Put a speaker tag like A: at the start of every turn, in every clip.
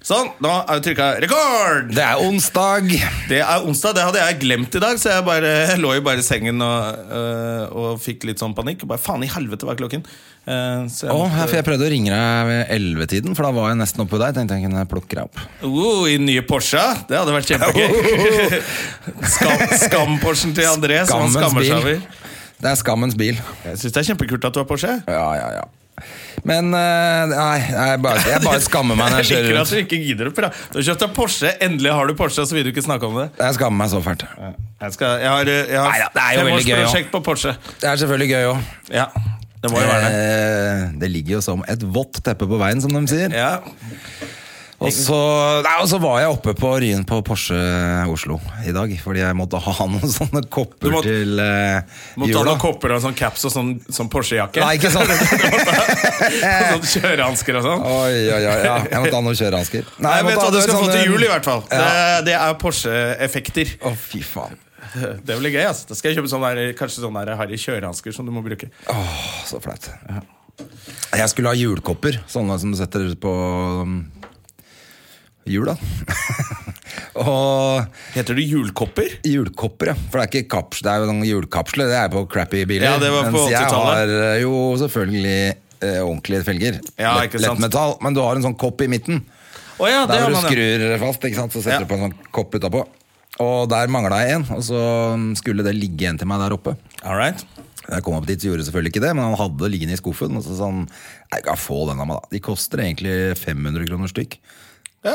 A: Sånn, da har jeg trykka rekord!
B: Det er onsdag.
A: Det er onsdag, det hadde jeg glemt i dag, så jeg bare, jeg lå jo bare i sengen og, øh, og fikk litt sånn panikk. Og bare faen i helvete, hva er klokken? Eh, så jeg
B: Å,
A: måtte-
B: ja, for jeg prøvde å ringe deg ved 11-tiden, for da var jeg nesten oppe der. Tenkte jeg kunne plukke deg opp.
A: oh, I nye Porsche, det hadde vært kjempegøy. Skam, Skam-Porschen til André, som han
B: Oh. Skammens
A: skammer seg
B: bil.
A: over.
B: Det er skammens bil.
A: Jeg syns det er kjempekult at du har Porsche.
B: Ja, ja, ja. Men eh, nei, jeg bare, jeg bare skammer meg når jeg
A: Jeg
B: kjører
A: liker at
B: rundt.
A: du ikke gidder å prate. Du har kjøpt deg Porsche, endelig har du Porsche, så vil du ikke snakke om det.
B: Jeg skammer meg så fælt.
A: Jeg, skal, jeg har, jeg har
B: Neida, det er jo veldig gøy, ja.
A: femårsprosjekt på Porsche.
B: Det er selvfølgelig gøy òg.
A: Ja, det må jo
B: Eh.
A: være det.
B: det ligger jo som et vått teppe på veien, som de sier.
A: Ja.
B: Og så, nei, og så var jeg oppe på Ryen på Porsche eh, Oslo i dag, fordi jeg måtte ha noen sånne kopper
A: måtte-
B: til eh,
A: Måtte ha
B: jula.
A: noen kopper og sånn caps og sånn, sånn Porsche-jakke.
B: Nei, ikke sånn.
A: sånn kjørehansker og sånn.
B: Oi, oi, oi. Ja. Jeg måtte ha noen kjørehansker.
A: Nei,
B: jeg
A: vet
B: måtte ha
A: du hva du
B: noen
A: skal få
B: sånne-
A: til jul, i hvert fall.
B: sånn, eh, Ja.
A: Det, det er Porsche-effekter.
B: Å, fy faen.
A: Det blir gøy. ass Da skal jeg kjøpe sånne der, kanskje sånne der harry kjørehansker som du må bruke.
B: Å, Så flaut. Jeg skulle ha hjulkopper, sånne som du setter på um, hjul, da. Og
A: Heter det hjulkopper?
B: hjulkopper, ja. For det er ikke kaps, det er jo noen hjulkapsler. Det er på crappy biler.
A: Ja, det var på
B: Mens jeg
A: 80-tallet.
B: har eh, jo selvfølgelig eh, ordentlige felger.
A: Ja,
B: Lett-
A: ikke sant.
B: Lettmetall. Men du har en sånn kopp i midten.
A: Å ja, det
B: Der
A: har
B: hvor du
A: man ja.
B: skrur fast, ikke sant? så setter
A: Ja.
B: du på en sånn kopp utapå. Og der mangla jeg en, og så mm, skulle det ligge en til meg der oppe.
A: All right.
B: Jeg kom opp dit, gjorde selvfølgelig ikke det, men han hadde det liggende i skuffen. Og så sa han jeg kan få den av meg, da. De koster egentlig 500 kroner stykk.
A: Ja.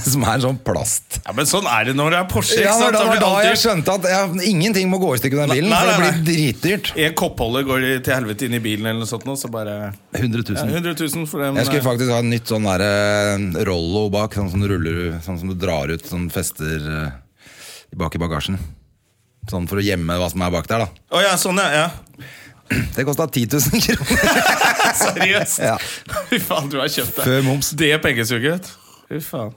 B: Som er sånn plast.
A: ja, Men sånn er det når det er Porsche.
B: Ja,
A: ikke
B: men
A: sant?
B: da
A: Da
B: var
A: blir
B: da
A: alt
B: jeg
A: dyrt.
B: skjønte at jeg, ingenting må gå i stykker med den bilen,
A: Nei, nei,
B: for det blir dritdyrt.
A: En koppholder går til helvete inn i bilen, eller noe sånt, nå, så bare
B: 100
A: ja,
B: 000.
A: 100 000 for den.
B: Jeg skulle
A: eh,
B: faktisk ha en nytt sånn der, eh, Rollo bak, sånn som, du ruller, sånn som du drar ut, sånn fester eh, bak i bagasjen. Sånn for å gjemme hva som er bak der, da.
A: Å ja, sånn, ja. ja.
B: Det kosta 10 000 kroner.
A: Seriøst?
B: Ja.
A: Fy faen, du har kjøpt deg
B: Før moms.
A: Det pengesuget. vet du. Fy faen.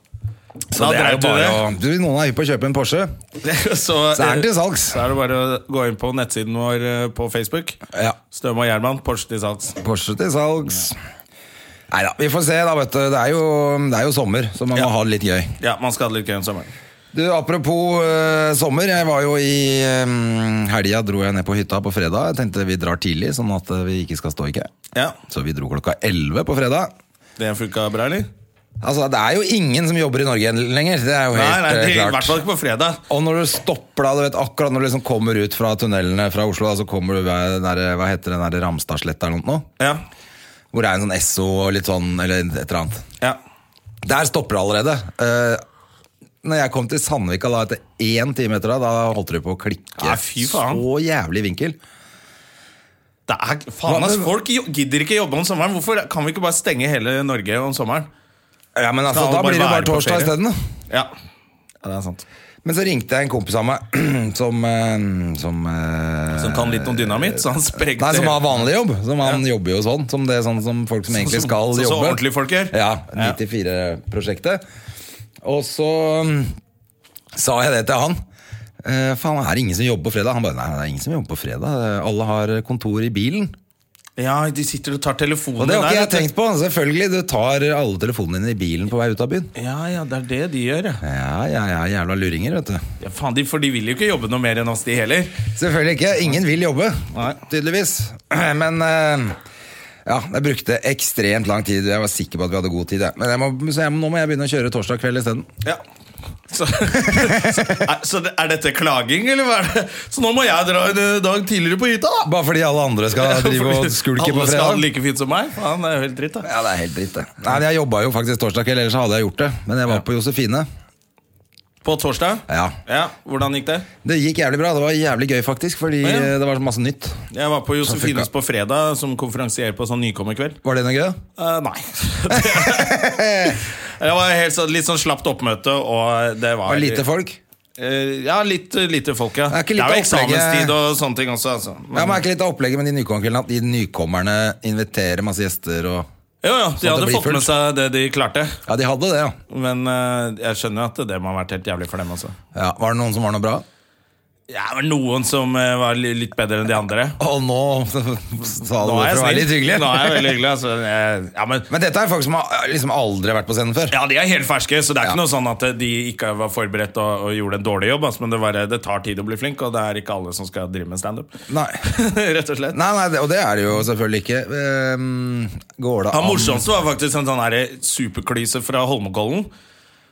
B: Så det
A: da
B: er jo
A: dreit du
B: bare
A: det.
B: å Du, noen er hypp på å kjøpe en Porsche.
A: Så,
B: Så er den til salgs.
A: Så er det bare å gå inn på nettsiden vår eh, på Facebook.
B: Ja.
A: Støme og Gjerman, Porsche til salgs.
B: Porsche til salgs. Nei da, vi får se, da, vet du. Det er jo, det er jo sommer, så man må
A: Ja.
B: ha det litt gøy.
A: Ja, man skal ha det litt gøy om sommeren.
B: Du, Apropos eh, sommer. Jeg var jo i um, helga dro jeg ned på hytta på fredag. Jeg tenkte vi drar tidlig, sånn at vi ikke skal stå i kø.
A: Ja,
B: Så vi dro klokka 11 på fredag.
A: Det funka bra, eller?
B: Altså, Det er jo ingen som jobber i Norge lenger. Det er jo
A: Nei,
B: helt
A: nei,
B: eh,
A: det, i hvert
B: klart.
A: fall ikke på fredag.
B: Og når du stopper da, du vet akkurat når du liksom kommer ut fra tunnelene fra Oslo, da, så kommer du ved den der, hva heter den der Ramstadsletta eller noe, nå?
A: Ja,
B: hvor det er en sånn Esso og litt sånn, eller et eller annet.
A: ja.
B: Der stopper det allerede. Eh, når jeg kom til Sandvika da, etter én time etter deg, da holdt det på å klikke
A: Nei, fy faen.
B: så jævlig vinkel.
A: Det er, faen, ass, folk jo- gidder ikke jobbe om sommeren. Hvorfor kan vi ikke bare stenge hele Norge om sommeren?
B: Ja, men altså,
A: Skal alle
B: Da
A: bare
B: blir det
A: være
B: bare
A: på
B: torsdag
A: ferie?
B: isteden. da.
A: Ja, ja det er sant.
B: Men så ringte jeg en kompis av meg som eh, Som, eh,
A: Som kan litt om dynamitt, så han sprengte
B: Nei, som har vanlig jobb. Som han jobber jo sånn. Som det er sånn som folk som egentlig
A: som-
B: skal
A: sånn som
B: jobbe.
A: ordentlige folk gjør.
B: Ja,
A: Ja.
B: 94-prosjektet. Og så mm, sa jeg det til han. Eh, faen, er det ingen som jobber på fredag? Han bare, nei, det er ingen som jobber på fredag. Alle har kontor i bilen.
A: Ja, de sitter og tar telefonen
B: Og det har ikke jeg
A: vet du.
B: tenkt på. Selvfølgelig, du tar alle telefonene dine i bilen på vei ut av byen.
A: Ja, ja, det er det de gjør, ja.
B: Ja, ja, ja, jævla luringer, vet du.
A: ja faen, de, for de vil jo ikke jobbe noe mer enn oss, de heller.
B: Selvfølgelig ikke. Ingen vil jobbe,
A: Nei.
B: tydeligvis. Men eh, ja, jeg brukte ekstremt lang tid. Jeg var sikker på at vi hadde god tid. jeg. Men jeg må, så jeg, nå må jeg begynne å kjøre torsdag kveld isteden.
A: Ja. Så, så, er, så det- er dette klaging, eller hva er det? Så nå må jeg dra en eh, dag tidligere på hytta, da!
B: Bare fordi alle andre skal drive og skulke på
A: Alle skal ha det
B: fredag.
A: like fint som meg. Faen, det er jo helt dritt, da.
B: Ja, det er helt dritt, det. Nei, men Jeg jobba jo faktisk torsdag kveld, ellers hadde jeg gjort det. Men jeg var på Josefine.
A: På torsdag?
B: Ja.
A: Hvordan gikk det?
B: Det gikk jævlig bra. Det var jævlig gøy, faktisk, fordi
A: Ja, ja.
B: eh, det var så masse nytt.
A: Jeg var på Josefines på fredag som konferansier på sånn nykommerkveld.
B: Var det noe gøy? da?
A: Eh, nei. Det var helt, sånn- litt sånn slapt oppmøte, og det var
B: Og lite folk.
A: Eh, ja, litt lite folk, ja.
B: Det er ikke litt
A: jo
B: av opplegget-
A: eksamenstid og sånne ting også, altså.
B: Ja, men er ikke litt av opplegget med de nykommerne at de nykommerne inviterer masse gjester og
A: jo, ja,
B: Sånn
A: de
B: at det
A: hadde
B: blir
A: fått med
B: fullt.
A: seg det de klarte.
B: Ja, de hadde det, ja.
A: Men eh, jeg skjønner jo at det må ha vært helt jævlig for dem, altså.
B: ja. Var det noen som var noe bra?
A: Ja, det var noen som eh, var li- litt bedre enn de andre.
B: Og nå sa du det for
A: Nå
B: å
A: er jeg
B: være
A: snill.
B: litt hyggelig.
A: Nå er jeg veldig hyggelig, altså. Jeg- Ja, men
B: Men dette er folk som har liksom aldri vært på scenen før.
A: ja, de er helt ferske, så det er ikke
B: Ja.
A: noe sånn at eh, de ikke var forberedt og, og gjorde en dårlig jobb. Altså, men det, bare, det tar tid å bli flink, og det er ikke alle som skal drive med standup.
B: Nei.
A: Rett og slett.
B: Nei, nei, det- og det er det jo selvfølgelig ikke. Ehm, går det
A: Han
B: an
A: morsomste var faktisk en sånn her superklyse fra Holmenkollen.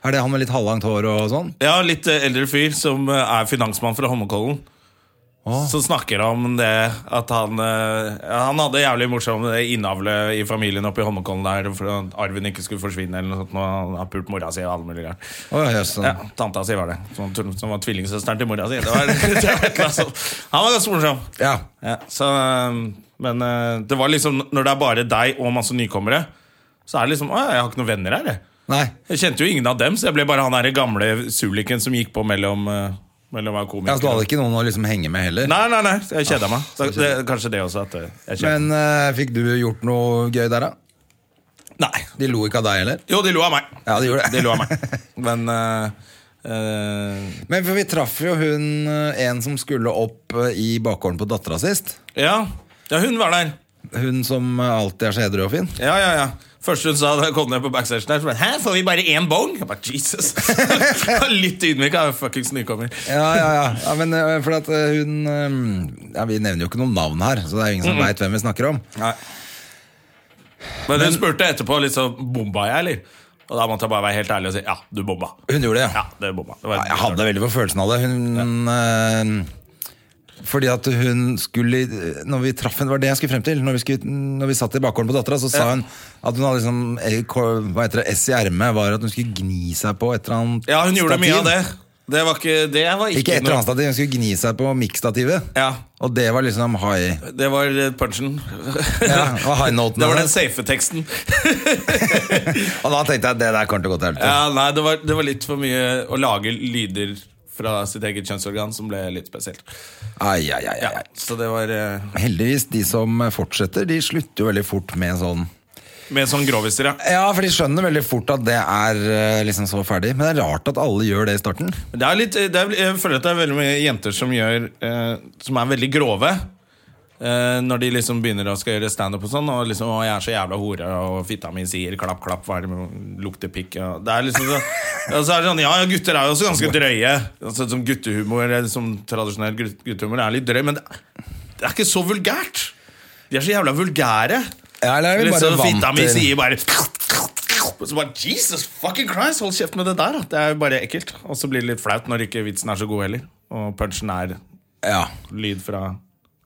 B: Er det han med litt halvlangt hår og sånn?
A: Ja, litt eh, eldre fyr som eh, er finansmann fra Holmenkollen. Som snakker om det at han eh, ja, Han hadde jævlig morsom det innavle i familien oppe i Holmenkollen der for at arven ikke skulle forsvinne eller noe sånt. Når han har pult mora si og alle mulige greier.
B: Å, jøss, sånn.
A: Ja, tanta si var det. Som, som var tvillingsøsteren til mora si. Det var, det var et eller annet sånt. han var ganske morsom.
B: ja.
A: Ja, så, um, men eh, det var liksom når det er bare deg og masse nykommere, så er det liksom Å, jeg har ikke noen venner her, jeg.
B: Nei.
A: Jeg kjente jo ingen av dem, så jeg ble bare han der gamle suliken som gikk på mellom, eh, mellom å være
B: Ja, så du
A: komiker.
B: hadde Ah, ikke noen å liksom henge med heller.
A: Nei, nei, nei, jeg kjeda meg. Så det, kanskje det også. at eh, jeg kjeder meg.
B: Men eh, fikk du gjort noe gøy der, da?
A: Nei.
B: De lo ikke av deg heller?
A: Jo, de lo av meg.
B: Ja, de gjorde det.
A: De lo av meg. Men eh, eh,
B: Men for vi traff jo hun eh, en som skulle opp eh, i bakgården på dattera sist.
A: ja. ja, hun var der.
B: Hun som eh, alltid er så edru og fin.
A: Ja, ja, ja. Første hun sa da jeg kom ned på backstage der, så bare Hæ, får vi bare én bong? Jeg bare, Jesus. Litt ydmyk av en fuckings nykommer.
B: Ja, ja, ja, ja men eh, for at eh, hun eh, ja, Vi nevner jo ikke noen navn her, så det er jo ingen som veit hvem vi snakker om.
A: Nei. Men hun spurte etterpå liksom, bomba jeg, eller? Og da måtte jeg bare være helt ærlig og si ja, du bomba.
B: Hun gjorde det,
A: Ja, det bomba. Det var-
B: Ja, Jeg hadde veldig på følelsen av det. Hun eh, Fordi at hun skulle eh, Når vi traff henne, det var det jeg skulle frem til. Når vi, skulle, når vi satt i bakgården på dattera, så sa hun at hun hadde liksom eh, ko- Hva heter det, S i ermet var at hun skulle gni seg på et eller annet
A: Ja, hun gjorde
B: stativ.
A: mye av det. Det var ikke Det var ikke,
B: Ikke et eller
A: noe-
B: annet stativ, hun skulle gni seg på mikkstativet.
A: Ja,
B: Og det var liksom high
A: det var eh, punchen.
B: Ja, det var high noten
A: det var
B: av det.
A: den safe teksten.
B: Og da tenkte jeg det der kommer til å gå til helvete.
A: Ja, nei, det var, det var litt for mye å lage lyder fra sitt eget kjønnsorgan som ble litt spesielt.
B: Ai, ai, ai, ai,
A: Ja,
B: ai.
A: så det var eh,
B: Heldigvis, de som fortsetter, de slutter jo veldig fort med sånn
A: Med sånn groviser, ja.
B: Ja, for de skjønner veldig fort at det er eh, liksom så ferdig. Men det er rart at alle gjør det i starten.
A: Men Det er litt, det er, jeg føler at det er veldig mye jenter som, gjør, eh, som er veldig grove. Eh, når de liksom begynner å skal gjøre standup og sånn. Og liksom, å, 'jeg er så jævla hore', og 'fitta mi sier klapp, klapp', hva er det med lukter pikk og Det er liksom så, og så er det sånn, Ja, ja, gutter er jo også ganske drøye. Altså, som guttehumor, eller som tradisjonell gut- guttehumor er litt drøy, men det, det er ikke så vulgært. De er så jævla vulgære.
B: Ja, eller er vi bare
A: Liksom, fitta
B: vant
A: mi
B: til
A: sier bare og så bare, Jesus fucking Christ, hold kjeft med det der. da. Det er bare ekkelt. Og så blir det litt flaut når ikke vitsen er så god heller. Og punchen er
B: Ja.
A: lyd fra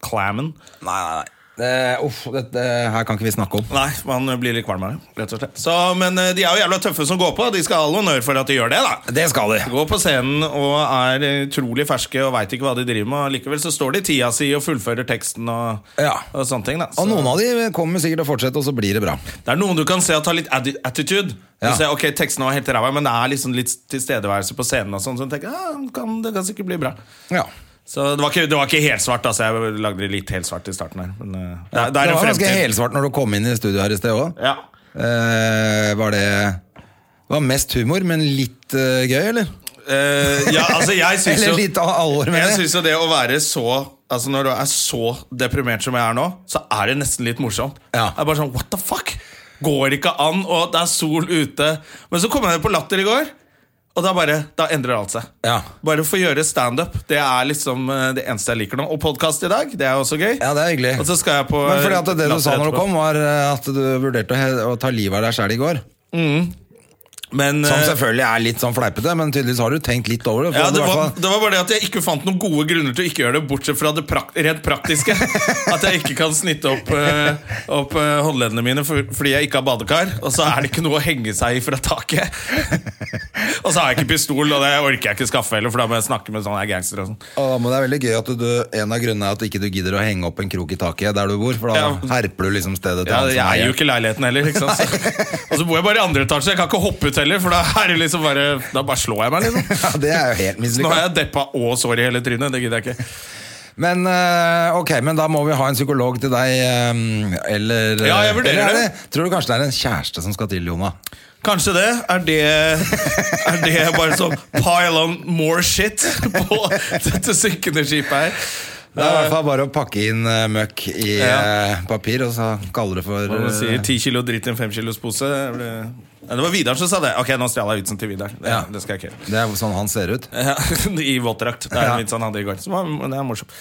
A: clammen.
B: Nei, nei, nei. Det, uff, dette her kan ikke vi snakke om.
A: Nei, man blir litt kvalm av det, rett og slett. Så, men eh, de er jo jævla tøffe som går på. De skal ha all honnør for at de gjør det, da.
B: Det skal de.
A: Går på scenen og er utrolig ferske og veit ikke hva de driver med. Og likevel så står de i tida si og fullfører teksten og,
B: Ja.
A: og sånne ting. da
B: Og
A: Så-
B: noen av de kommer sikkert til å fortsette, og så blir det bra.
A: Det er noen du kan se at har litt atti- attitude. Du
B: Ja.
A: ser, ok, teksten var helt ræva, men det er liksom litt tilstedeværelse på scenen. og sånn, Så du tenker, ja, det kan, det kan sikkert bli bbra.
B: Ja.
A: Så det var ikke, det var ikke helt svart, altså. Jeg lagde det litt helt svart i starten her. Men eh, det, er- det
B: Det
A: er en
B: var ganske
A: fremtid.
B: helsvart når du kom inn i studio her i sted òg.
A: Ja.
B: Eh, var det det var mest humor, men litt eh, gøy, eller?
A: Eh, ja, altså, jeg syns jo
B: Eller litt al- alvor, mener
A: Jeg
B: jeg.
A: synes jo det å være så Altså Når du er så deprimert som jeg er nå, så er det nesten litt morsomt.
B: Ja.
A: Det er bare sånn, what the fuck? Går ikke an, og det er sol ute. Men så kom jeg ned på Latter i går, og da bare, da endrer alt seg.
B: Ja.
A: Bare få gjøre standup. Det er liksom eh, det eneste jeg liker nå. Og podkast i dag, det er også gøy.
B: Ja, det er hyggelig.
A: Og så skal jeg på
B: Men fordi at det du
A: Latter
B: sa når du
A: etterpå.
B: kom, var eh, at du vurderte å, he- å ta livet av deg sjæl i går.
A: Men,
B: Som
A: eh,
B: selvfølgelig er litt sånn fleipete, men tydeligvis har du tenkt litt over det. for
A: Ja,
B: du
A: det
B: i hvert
A: var,
B: fall-
A: det var bare det at jeg ikke fant noen gode grunner til å ikke gjøre det, bortsett fra det prakt rent praktiske. At jeg ikke kan snitte opp, eh, opp eh, håndleddene mine for, fordi jeg ikke har badekar. Og så er det ikke noe å henge seg i fra taket. Og så har jeg ikke pistol, og det orker jeg ikke skaffe heller, for da må jeg snakke med sånne gangster og sånn.
B: Ja, men det er veldig gøy at du, du- En av grunnene er at ikke du gidder å henge opp en krok i taket der du bor, for da
A: Ja.
B: herper du liksom stedet til
A: Ja,
B: han som
A: jeg eier jo
B: eier.
A: ikke leiligheten heller. Ikke sant? Så, og så bor jeg bare i andre etasje, jeg kan ikke hoppe ut heller, for da er det liksom bare Da bare slår jeg meg, liksom.
B: Ja, det er jo helt
A: Nå har
B: mislykka.
A: jeg deppa og sår i hele trynet. Det gidder jeg ikke.
B: Men eh, ok, men da må vi ha en psykolog til deg, eh, eller
A: Ja, jeg vurderer
B: eller er
A: det.
B: Tror du kanskje det er en kjæreste som skal til, Jona?
A: Kanskje det. Er det, er det bare sånn pile on more shit på dette synkende skipet her?
B: Det er i hvert fall bare å pakke inn eh, møkk i
A: Eh. Ja.
B: eh, papir, og så kaller det for
A: Hva man sier,
B: eh,
A: Ti kilo dritt i en femkilospose. Det ble- Ja, det var Vidar som sa det. Ok, nå stjal jeg vitsen til Vidar. Det,
B: Ja.
A: det skal jeg ikke gjøre.
B: Det er jo sånn han ser ut.
A: Ja, I våtdrakt. Det er
B: Ja.
A: en vits han hadde i går. Som var, men det er morsomt.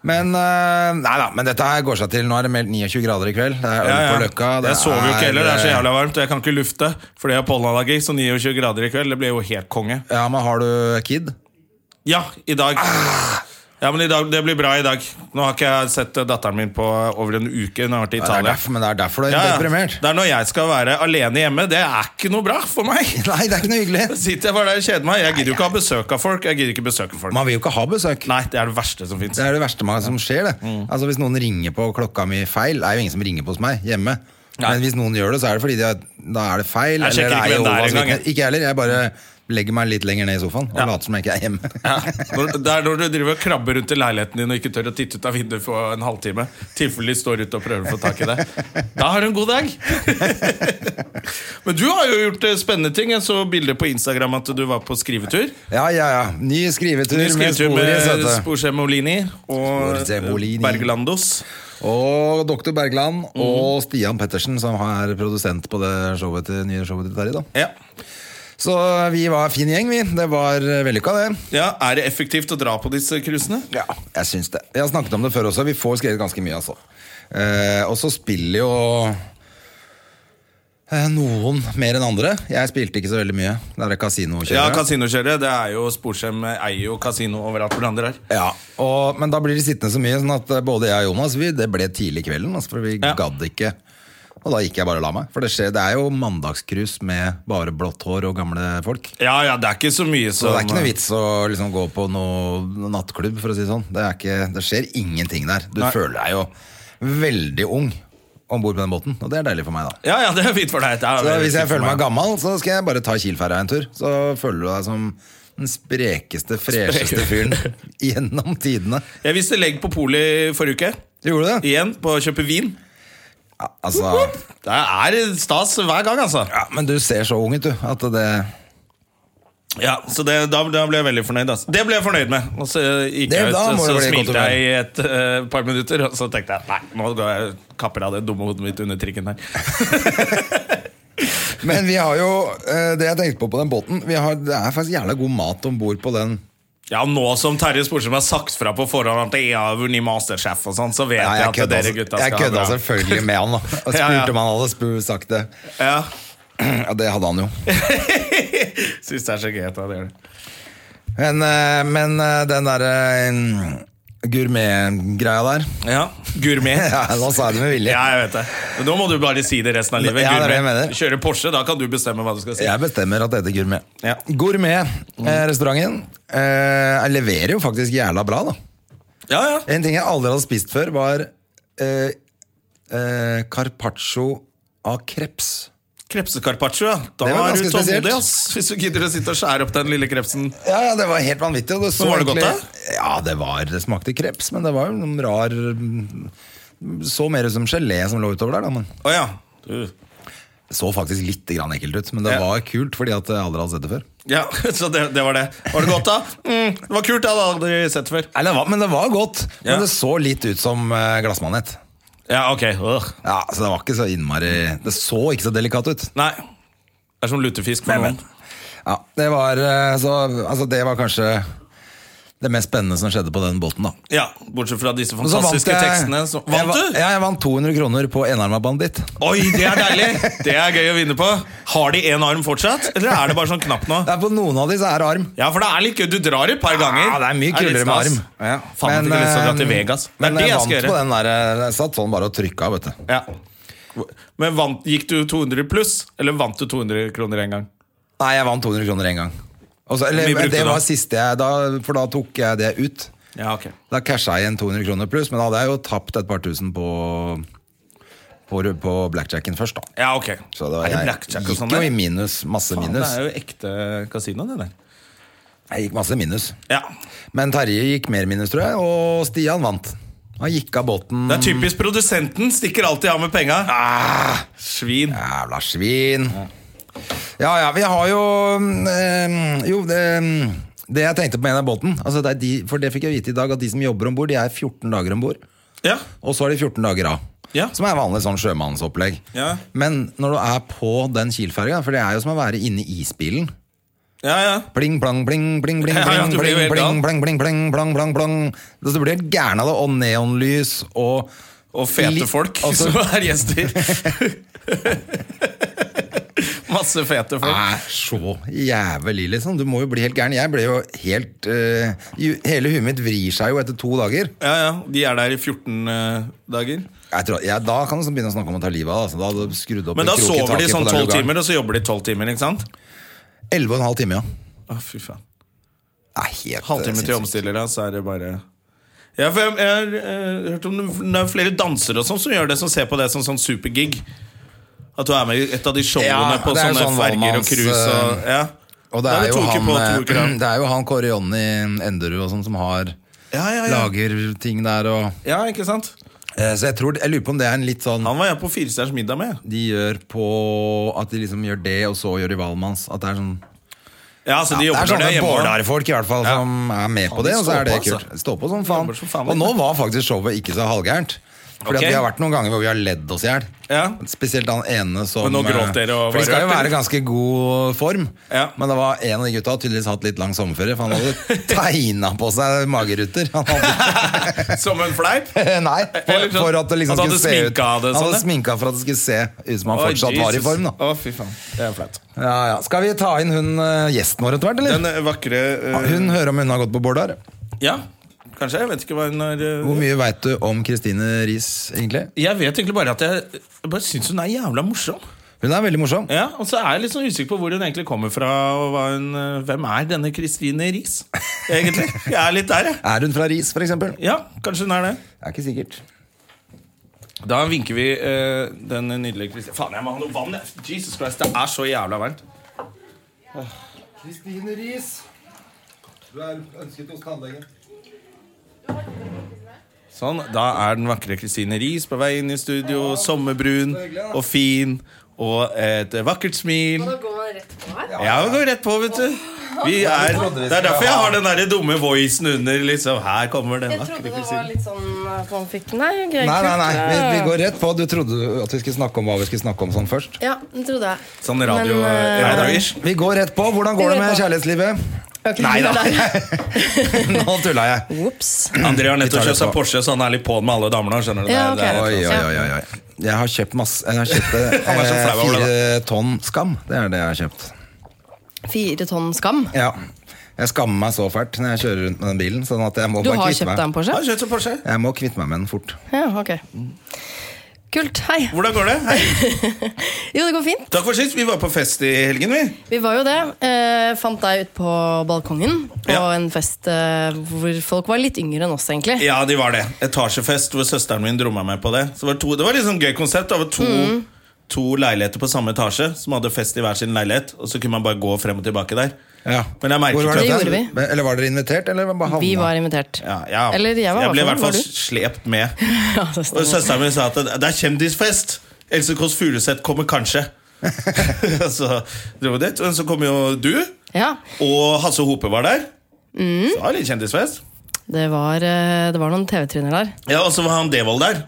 B: Men eh, nei da, men dette her går seg til. Nå er det meldt 29 grader i kveld. Det er øl
A: Ja, ja.
B: på Løkka. det
A: jeg sover jo ikke heller. Det er så
B: eh,
A: jævla varmt, og jeg kan ikke lufte fordi jeg har pollenallergi. Så 29 grader i kveld, det blir jo helt konge.
B: Ja, men har du kid?
A: Ja, i dag.
B: Ah.
A: Ja, men i dag, Det blir bra i dag. Nå har ikke jeg sett eh, datteren min på over en uke. Hun har vært
B: Ja, Det
A: i
B: er
A: Italia.
B: derfor, men det er derfor du er
A: Ja, ja.
B: deprimert.
A: Det er når jeg skal være alene hjemme. Det er ikke noe bra for meg.
B: Nei, det er ikke noe
A: Da
B: hyggelig.
A: sitter jeg bare der og kjeder meg. Jeg gidder jo ikke ha besøk av folk. Jeg gidder ikke besøke folk.
B: Man vil jo ikke ha besøk.
A: Nei, Mm. det er det verste som fins.
B: Det er det verste man, som skjer. det Altså Hvis noen ringer på klokka mi feil Det er jo ingen som ringer på hos meg hjemme.
A: Nei.
B: Men hvis noen gjør det, så er det fordi de har, da er det feil.
A: Jeg sjekker
B: eller det
A: ikke hvem det er
B: Jehovas
A: engang, jeg.
B: vitner. Ikke jeg heller. Jeg bare legger meg litt lenger ned i sofaen og
A: Ja.
B: later som jeg ikke er hjemme.
A: Ja. Når- Det er når du driver og krabber rundt i leiligheten din og ikke tør å titte ut av vinduet for en halvtime. Tilfelle de står ute og prøver å få tak i deg. Da har du en god dag! Men du har jo gjort eh, spennende ting. Jeg så bilder på Instagram at du var på skrivetur.
B: Ja, ja, ja. Ny skrivetur,
A: Du skrivetur
B: med
A: med
B: spor i søtet.
A: Sporsemmolini og
B: Sporzemolini.
A: Berglandos.
B: Og Dr. Bergland og Stian Pettersen, som er produsent på det showet til, nye showet til Terje. da
A: Ja.
B: Så vi var fin gjeng, vi. Det var eh, vellykka, det.
A: ja, Er det effektivt å dra på disse cruisene?
B: Ja, jeg syns det. Vi har snakket om det før også. Vi får skrevet ganske mye, altså. Eh, og så spiller jo eh, noen mer enn andre. Jeg spilte ikke så veldig mye. Det er
A: Ja,
B: kasinokjørere.
A: kasinokjørere. Det er jo Sporsem eier jo kasino overalt hvor det andre er.
B: Ja, og, men da blir de sittende så mye Sånn at både jeg og Jonas, vi, det ble tidlig kvelden altså, For vi
A: Ja.
B: gadd ikke Og da gikk jeg bare og la meg For det, skjer, det er jo mandagskrus med bare blått hår og gamle folk
A: Ja, ja, det er ikke så mye
B: Så
A: som eh,
B: det er ikke noe vits å liksom, gå på noe nattklubb For å si det sånn Det, er ikke, det skjer ingenting der Du
A: Nei.
B: føler deg jo veldig ung Ombord på den båten Og det er deilig for meg da
A: Ja, ja, det er fint for deg. Det er
B: så
A: veldig
B: hvis jeg
A: fint for
B: føler meg gammel, så skal jeg bare ta Kielferga en tur. Så føler du deg som den sprekeste, fresheste fyren gjennom tidene.
A: Jeg viste legg på polet i forrige uke.
B: Du gjorde det?
A: Igjen på å kjøpe vin.
B: Ja, altså,
A: Det er stas hver gang, altså.
B: ja, men du ser så ung ut, du. At det
A: Ja, så det, da, da ble jeg veldig fornøyd. Altså. Det ble jeg fornøyd med. Og så eh, gikk
B: Det-
A: jeg ut,
B: da må du
A: så,
B: bli godt
A: smilte
B: humør.
A: jeg i et eh, par minutter, og så tenkte jeg nei, nå går jeg kapper av det dumme hodet mitt under trikken her.
B: Men vi har jo eh, det jeg tenkte på på den båten vi har, Det er faktisk jævla god mat om bord på den.
A: Ja, nå som Terje Sporsem har sagt fra på forhånd at jeg har vunnet Masterchef og sånn, så vet
B: Nei,
A: jeg,
B: jeg
A: at
B: kødda,
A: dere gutta
B: jeg altså.
A: skal
B: kødda
A: ha bra.
B: selvfølgelig med han. da. Og spurte
A: Ja, ja.
B: om han hadde spu sagt det.
A: Ja.
B: Ja, det hadde han jo.
A: Syns det er så gøy at han gjør det.
B: Men, eh, men eh, den derre eh, gourmetgreia der
A: Ja, Gourmet.
B: ja, Nå sa jeg det med vilje.
A: Ja, jeg vet det. Men nå må du bare si det resten av livet.
B: Ja, det er det jeg
A: Gud,
B: mener.
A: Kjøre Porsche, da kan du bestemme hva du skal si.
B: Jeg bestemmer at det heter gourmet.
A: Ja.
B: Gourmet-restauranten leverer jo faktisk jævla bra, da.
A: Ja, ja.
B: En ting jeg aldri hadde spist før, var eh, eh, carpaccio av kreps.
A: Krepsekarpaccio, ja. Da
B: Det var
A: er du
B: ganske
A: tålmodig,
B: spesielt.
A: ass. Hvis du gidder å sitte og skjære opp den lille krepsen.
B: Ja, ja, det var helt vanvittig. Og det
A: Så var det
B: egentlig-
A: godt,
B: Ja, det var Det smakte kreps, men det var jo noen rar mm, Så mer ut som gelé som lå utover der, da. Men
A: Å ja. Du.
B: det så faktisk litt grann ekkelt ut, men det
A: Ja.
B: var kult fordi at jeg aldri hadde sett det før.
A: Ja, så det, det var det. Var det godt, da? Mm, det var kult, jeg hadde aldri sett det før.
B: Nei, det var, men det var godt. Men
A: Ja.
B: det så litt ut som eh, glassmanet.
A: Ja, ok. Ugh.
B: Ja, så det var ikke så innmari Det så ikke så delikat ut.
A: Nei. Det er som lutefisk for noen.
B: Ja, det var, eh, så, altså, det var kanskje det mest spennende som skjedde på den båten. da
A: Ja, Bortsett fra disse
B: Og så vant
A: fantastiske
B: jeg-
A: tekstene. Så,
B: jeg
A: vant
B: va-
A: du?
B: Ja, jeg vant 200 kroner på enarma banditt.
A: Oi, det er deilig! Det er gøy å vinne på. Har de én arm fortsatt, eller er det bare sånn knapp nå?
B: Det er På noen av de så er det arm.
A: Ja, for det er litt gøy. Du drar et par ganger.
B: Ja, det er mye kulere
A: litt
B: med arm.
A: stas. Faen, jeg fikk lyst til å dra til
B: eh,
A: Vegas. Det er
B: men
A: det
B: jeg
A: jeg
B: vant
A: skal
B: på
A: gjøre.
B: den der. eh, Jeg satt sånn bare og trykka, vet du.
A: Ja. Men vant, gikk du 200 pluss, eller vant du 200 kroner en gang?
B: Nei, jeg vant 200 kroner én gang. Og så-
A: Hvor mye
B: eller, eh,
A: brukte
B: det
A: du da?
B: var siste jeg da, For da tok jeg det ut.
A: Ja, ok.
B: Da casha jeg igjen 200 kroner pluss, men da hadde jeg jo tapt et par tusen på, på, på blackjacken først, da.
A: Ja, ok.
B: Så det var,
A: er det
B: jeg
A: blackjack og
B: gikk
A: sånn
B: jo i
A: der?
B: minus. Masse
A: Faen, det
B: minus.
A: er jo ekte kasino, det der.
B: Jeg gikk masse minus.
A: Ja.
B: Men Terje gikk mer minus, tror jeg, og Stian vant. Han gikk av båten.
A: Det er typisk produsenten. Stikker alltid av med penga. Ah, Svin.
B: Jævla svin. Ja ja, vi har jo eh, Jo, det, det jeg tenkte på med den båten altså det er de, For det fikk jeg vite i dag, at de som jobber om bord, de er 14 dager om bord.
A: Ja.
B: Og så er de 14 dager av.
A: Ja.
B: Som er vanlig sånn sjømannsopplegg.
A: Ja.
B: Men når du er på den Kiel-ferga, for det er jo som å være inne i isbilen
A: Ja, ja.
B: Pling, plang, pling, pling, pling,
A: Ja, ja,
B: pling,
A: du blir jo
B: pling, pling,
A: helt gal.
B: pling, pling, pling, plang, plang, plang. Så Du blir helt gæren av det, og neonlys og
A: Og fete
B: Litt- altså.
A: folk
B: og så-
A: som er gjester. Masse fete folk.
B: er så jævlig, liksom. Du må jo bli helt gæren. Jeg ble jo helt eh, ju- Hele huet mitt vrir seg jo etter to dager.
A: Ja, ja. De er der i 14 eh, dager.
B: Jeg tror, jeg, da kan du sånn begynne å snakke om å ta livet av deg. Altså. Da hadde du skrudd opp
A: Men
B: en
A: da
B: krok i
A: sover de
B: taket på
A: sånn
B: den
A: 12
B: lugaren.
A: timer, og så jobber de 12 timer, ikke sant?
B: Elleve og en halv time, ja.
A: Å, fy faen.
B: Det er helt eh,
A: Halvtime til
B: sinnssykt.
A: omstillere, så er det bare ja, for jeg, jeg har eh, hørt om det- det er flere dansere og sånn som gjør det, som ser på det som sånn supergig. At du er med i et av de showene
B: Ja,
A: på
B: det er jo
A: sånne
B: sånn
A: ferger og
B: valmanns,
A: cruise. Og, ja.
B: Og det
A: Da
B: er,
A: vi
B: jo
A: to uker
B: han,
A: på, to uker
B: eh,
A: av.
B: det er jo han Kåre Jonny Enderud og sånn som har
A: Ja, ja, ja.
B: lager ting der og
A: ja, ikke sant?
B: eh, Så jeg tror, jeg lurer på om det er en litt sånn
A: Han var jeg på Firestjerners middag med.
B: de gjør på At de liksom gjør det, og så gjør de Valmanns. At det er sånn
A: Ja, så
B: Ja,
A: de
B: det
A: jobber
B: er sånn
A: når de
B: sånne
A: er hjemme. også.
B: bårdarfolk i hvert fall
A: Ja.
B: som er med på
A: Faen,
B: det,
A: de
B: og så er
A: står
B: det
A: på,
B: kult.
A: altså.
B: Stå på som faen.
A: Jobber som faen,
B: Og nå
A: vet
B: var faktisk showet ikke så halvgærent. Fordi
A: Ok.
B: at Vi har vært noen ganger hvor vi har ledd oss i hjel.
A: Ja.
B: Spesielt han ene som
A: Men nå gråt
B: eh,
A: dere og
B: For de
A: var
B: skal jo
A: rørt,
B: være
A: eller?
B: ganske god form.
A: Ja.
B: Men det var en av de gutta hadde tydeligvis hatt litt lang sommerferie, for han hadde tegna på seg mageruter. Han hadde
A: Som en fleip?
B: Nei, for,
A: Eller sånn-
B: for at det liksom
A: At
B: skulle
A: han hadde
B: se ut
A: sminka det
B: Han hadde
A: sånn,
B: sminka for at det skulle se ut som han
A: Å,
B: fortsatt var i
A: Jesus.
B: form. da
A: Å, fy faen. Det er flaut.
B: ja, ja. Skal vi ta inn hun eh, gjesten vår etter hvert, eller?
A: Den eh, vakre eh,
B: Ja, Ah, Hun hører om hun har gått på Bårdar.
A: Ja, kanskje. Jeg vet ikke hva hun har eh,
B: Hvor mye veit du om Kristine Riis, egentlig?
A: Jeg vet egentlig bare at jeg, jeg bare syns hun er jævla morsom.
B: Hun er veldig morsom.
A: Ja, Og så er jeg litt sånn usikker på hvor hun egentlig kommer fra. Og hva hun, eh, hvem er denne Kristine Riis, egentlig? Jeg er litt der, jeg.
B: Er hun fra Riis, for eksempel?
A: Ja, kanskje hun er det.
B: Er ikke sikkert.
A: Da vinker vi eh, den nydelige Kristine Faen, jeg må ha noe vann! jeg. Jesus Christ, det er så jævla varmt.
B: Kristine Riis, du er ønsket hos tannlegen.
A: Sånn, Da er den vakre Kristine Riis på vei inn i studio. Sommerbrun og fin og et vakkert smil. Ja, vi går rett på, vet du. Vi er, det er derfor jeg har den der dumme voicen under. Liksom, her kommer den
C: Jeg trodde
A: vakre
C: det var
A: Kristine.
C: litt sånn at man fikk Nei, greit.
B: Nei, nei, nei, vi, vi
C: Ja.
B: går rett på. Du trodde at vi skulle snakke om hva vi skulle snakke om sånn først.
C: Ja, det trodde jeg.
A: Sånn radio,
C: Men, eh,
A: radioish.
B: Vi går rett på. Hvordan går
C: Vi
B: det
C: går
B: med
C: på.
B: kjærlighetslivet?
C: Ok,
B: Nei da.
C: det er-
B: Nå tulla jeg.
C: Ops.
A: André har
B: Vi tar
A: nettopp
B: det
A: kjøpt
B: på.
A: seg Porsche, så han er litt på'n med alle damene. skjønner du?
C: Ja,
A: Det er-
B: Oi,
C: ok.
A: det er-
B: oi, oi, oi. oi. Jeg har kjøpt masse Jeg har kjøpt
A: Han er så
B: eh,
A: flau over det,
B: fire tonn skam. Det er det jeg har kjøpt.
C: Fire tonn skam.
B: Ja. Jeg skammer meg så fælt når jeg kjører rundt med den bilen. Sånn at jeg må
C: Du
B: bare
C: har
B: kvitte
C: kjøpt deg en
B: meg
C: Porsche?
A: Har du kjøpt seg Porsche?
B: Jeg må kvitte meg med den fort.
C: Ja, ok. Kult. Hei.
A: Hvordan går det? Hei.
C: Jo, det går fint.
A: Takk for sist. Vi var på fest i helgen, vi.
C: Vi var jo det. Eh, fant deg ut på balkongen på
A: Ja.
C: en fest eh, hvor folk var litt yngre enn oss, egentlig.
A: Ja, de var det. Etasjefest hvor søsteren min dromma meg på det. Så det var to, det var litt sånn gøy konsept. Det var to,
C: Mm.
A: to leiligheter på samme etasje som hadde fest i hver sin leilighet. Og så kunne man bare gå frem og tilbake der. Men jeg merket
B: Hvor var
A: jo
C: Det
B: dette?
C: gjorde vi.
B: Men- Eller var dere invitert, eller var det bare havna?
C: Vi var invitert.
A: Ja, ja.
C: Eller jeg var
A: ble i hvert
C: var
A: fall
C: du?
A: slept med.
C: Ja, det
A: Og
C: stemmer.
A: søsteren min sa at det det er kjendisfest! Else Kåss Furuseth kommer kanskje. så dro vi dit. Og så kom jo du,
C: ja,
A: og Hasse Hope var der.
C: Mm.
A: Så det var litt kjendisfest.
C: det var, eh, det var noen TV-tryner der.
A: Ja, Og så var han Devold der.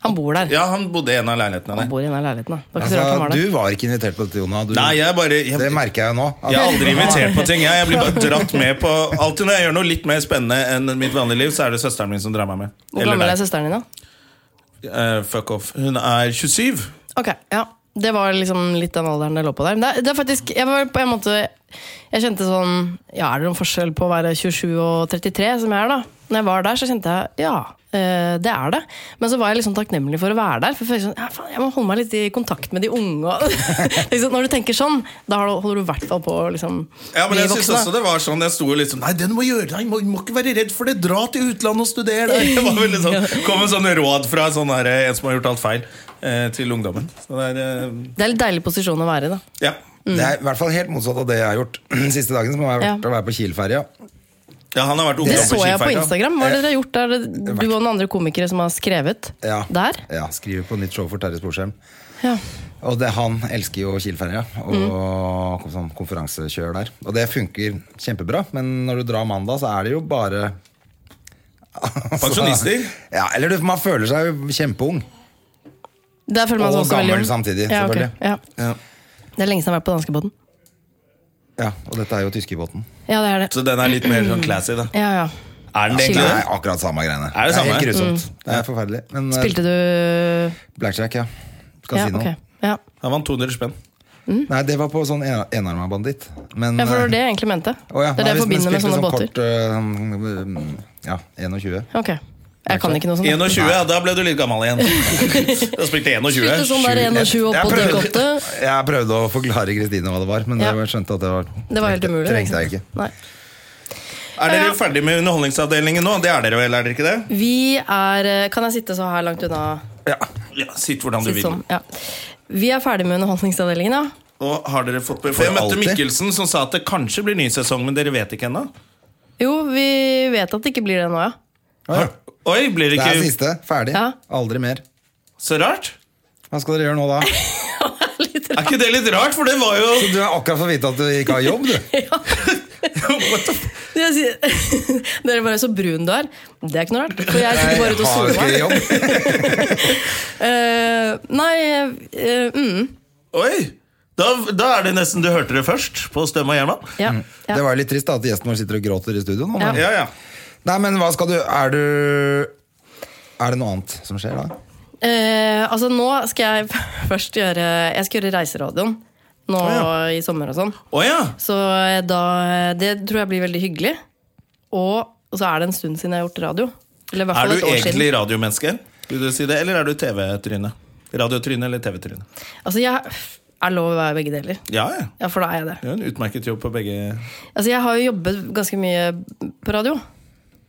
C: Han bor der.
A: Ja, Han bodde i en av leilighetene der.
C: Han bor i den der leiligheten. Da. Det var ikke så rart
B: Altså,
C: han var der.
B: du var ikke invitert på dette, Jona. Du,
A: Nei, jeg bare jeg,
B: det merker jeg jo nå. At-
A: Jeg er aldri invitert på ting. Jeg, jeg blir bare dratt med på Alltid når jeg gjør noe litt mer spennende enn mitt vanlige liv, så er det søsteren min som drar meg med.
C: Hvor gammel
A: deg.
C: er søsteren din, da?
A: Eh, fuck off. Hun er 27.
C: Ok, ja. Det var liksom litt den alderen det lå på der. Men det, det er faktisk, jeg var på en måte Jeg kjente sånn Ja, er det noen forskjell på å være 27 og 33, som jeg er, da? Når jeg var der, så kjente jeg ja, Eh, det er det. Men så var jeg liksom takknemlig for å være der. For jeg, sånn, ja, faen, jeg må holde meg litt i kontakt med de unge. og- liksom, når du tenker sånn, da har du- holder du i hvert fall på å liksom,
A: Ja, men
C: bli
A: jeg synes
C: voksen, da.
A: også det var sånn Jeg sto jo liksom Nei, den må gjøre det må, må ikke være redd for det Dra til utlandet og studere der Det var veldig sånn Kom en sånn råd fra sånn her, En som har gjort alt feil eh, Til ungdommen Så det er eh,
C: Det er litt deilig posisjon å være i, da.
A: Ja
B: Altså, Det er i hvert fall helt motsatt av det jeg har gjort siste dagen, som har vært
C: Ja.
B: å være på Kiel-ferja.
A: Ja, han har vært
C: Det
A: ungdom
C: så jeg på
A: skiferie, da.
C: Instagram. Hva har dere gjort der? Du og noen andre komikere som har skrevet
B: Ja.
C: der?
B: Ja, skriver på nytt show for Terje Sporsheim.
C: Ja.
B: Og det, han elsker jo Kiel-ferja og
C: Mhm.
B: kom- sånn konferansekjør der. Og det funker kjempebra, men når du drar mandag, så er det jo bare altså,
A: Pensjonister?
B: Ja, eller du, man føler seg jo kjempeung.
C: Der føler man seg
B: Og
C: også veldig
B: gammel
C: ung.
B: samtidig,
C: ja, ok.
B: selvfølgelig.
C: Ja.
A: Ja.
C: Det er lenge siden jeg har vært på danskebåten.
B: Ja, Og dette er jo tyskebåten.
C: Ja, det er det.
A: Så den er litt mer sånn classy da
C: Ja, ja.
A: Er den
B: Det
A: egentlig
B: er
A: det?
B: akkurat samme greiene. er
A: Er det
B: helt
A: samme?
B: grusomt. Det er forferdelig. Men eh,
C: Mm. Spilte du
B: blackjack, ja.
C: ja,
B: Kasino.
C: ok. ja.
A: Han vant 200 spenn
B: Nei, det var på sånn en- enarma banditt. Men,
C: ja, for det
B: eh,
C: var det jeg egentlig mente.
B: Å ja,
C: Det er det
B: nei, hvis man
C: jeg forbinder med
B: spilte
C: sånne
B: sånn
C: båter.
B: Kort, øh, ja, 21.
C: Ok. Jeg kan ikke noe sånt.
A: 21, ja, da ble du litt gammel igjen Da spilte jeg 21
C: Spilte sånn der 21 opp
B: Jeg
C: på
B: prøvde-
C: dekk 8.
B: Jeg prøvde å forklare Kristine hva det var, men
C: Ja.
B: jeg skjønte at det var
C: Det var helt umulig.
B: Trengte jeg ikke.
C: Nei.
A: Er dere
C: Ja.
A: ferdige med underholdningsavdelingen nå? Det er dere vel, er dere ikke det?
C: Vi er eh, Kan jeg sitte så her langt unna?
A: Ja, Sitt hvordan du vil
C: Sitt sånn. Ja. Vi er ferdig med Underholdningsavdelingen, ja.
A: Og har dere fått beskjed?
B: For
A: Jeg møtte
B: alltid?
A: Mikkelsen som sa at det kanskje blir ny sesong Men dere vet ikke enda
C: Jo, vi vet at det ikke blir det nå, ja.
B: Ja.
A: Oi, blir det
B: Det er
A: ikke
B: siste. Ferdig.
C: Ja.
B: Aldri mer.
A: så rart?
B: Hva skal dere gjøre nå, da?
C: Litt
A: Er ikke det litt rart? For det var jo
B: Du er akkurat fått vite at du ikke har jobb, du.
C: Jeg sier- Dere bare så brun du er. Det er ikke noe rart. For jeg sitter bare ute og
B: har
C: soler meg.
B: ikke jobb.
C: Eh, nei eh, mm,
A: Oi! Da, da er det nesten du hørte det først på Støm og Gjerman.
C: ja, ja.
B: Det var jo litt trist da at gjesten vår sitter og gråter i studio nå. Men...
A: Ja, ja.
B: Nei, men hva skal du Er du Er det noe annet som skjer da?
C: Eh, altså Nå skal jeg først gjøre Jeg skal gjøre Reiseradioen nå
A: Å,
C: i sommer og sånn.
A: Å ja!
C: Så eh, da Det tror jeg blir veldig hyggelig. Og, og så er det en stund siden jeg har gjort radio. Eller i
A: Er
C: hvert fall
A: du
C: et år
A: egentlig
C: siden.
A: radiomenneske? Vil du si det, Eller er du TV-tryne? Radiotryne eller TV-tryne?
C: Altså jeg er lov å være begge deler.
A: Ja, ja.
C: Ja, for da er jeg det.
A: Det er jo en utmerket jobb på begge
C: Altså Jeg har jo jobbet ganske mye på radio.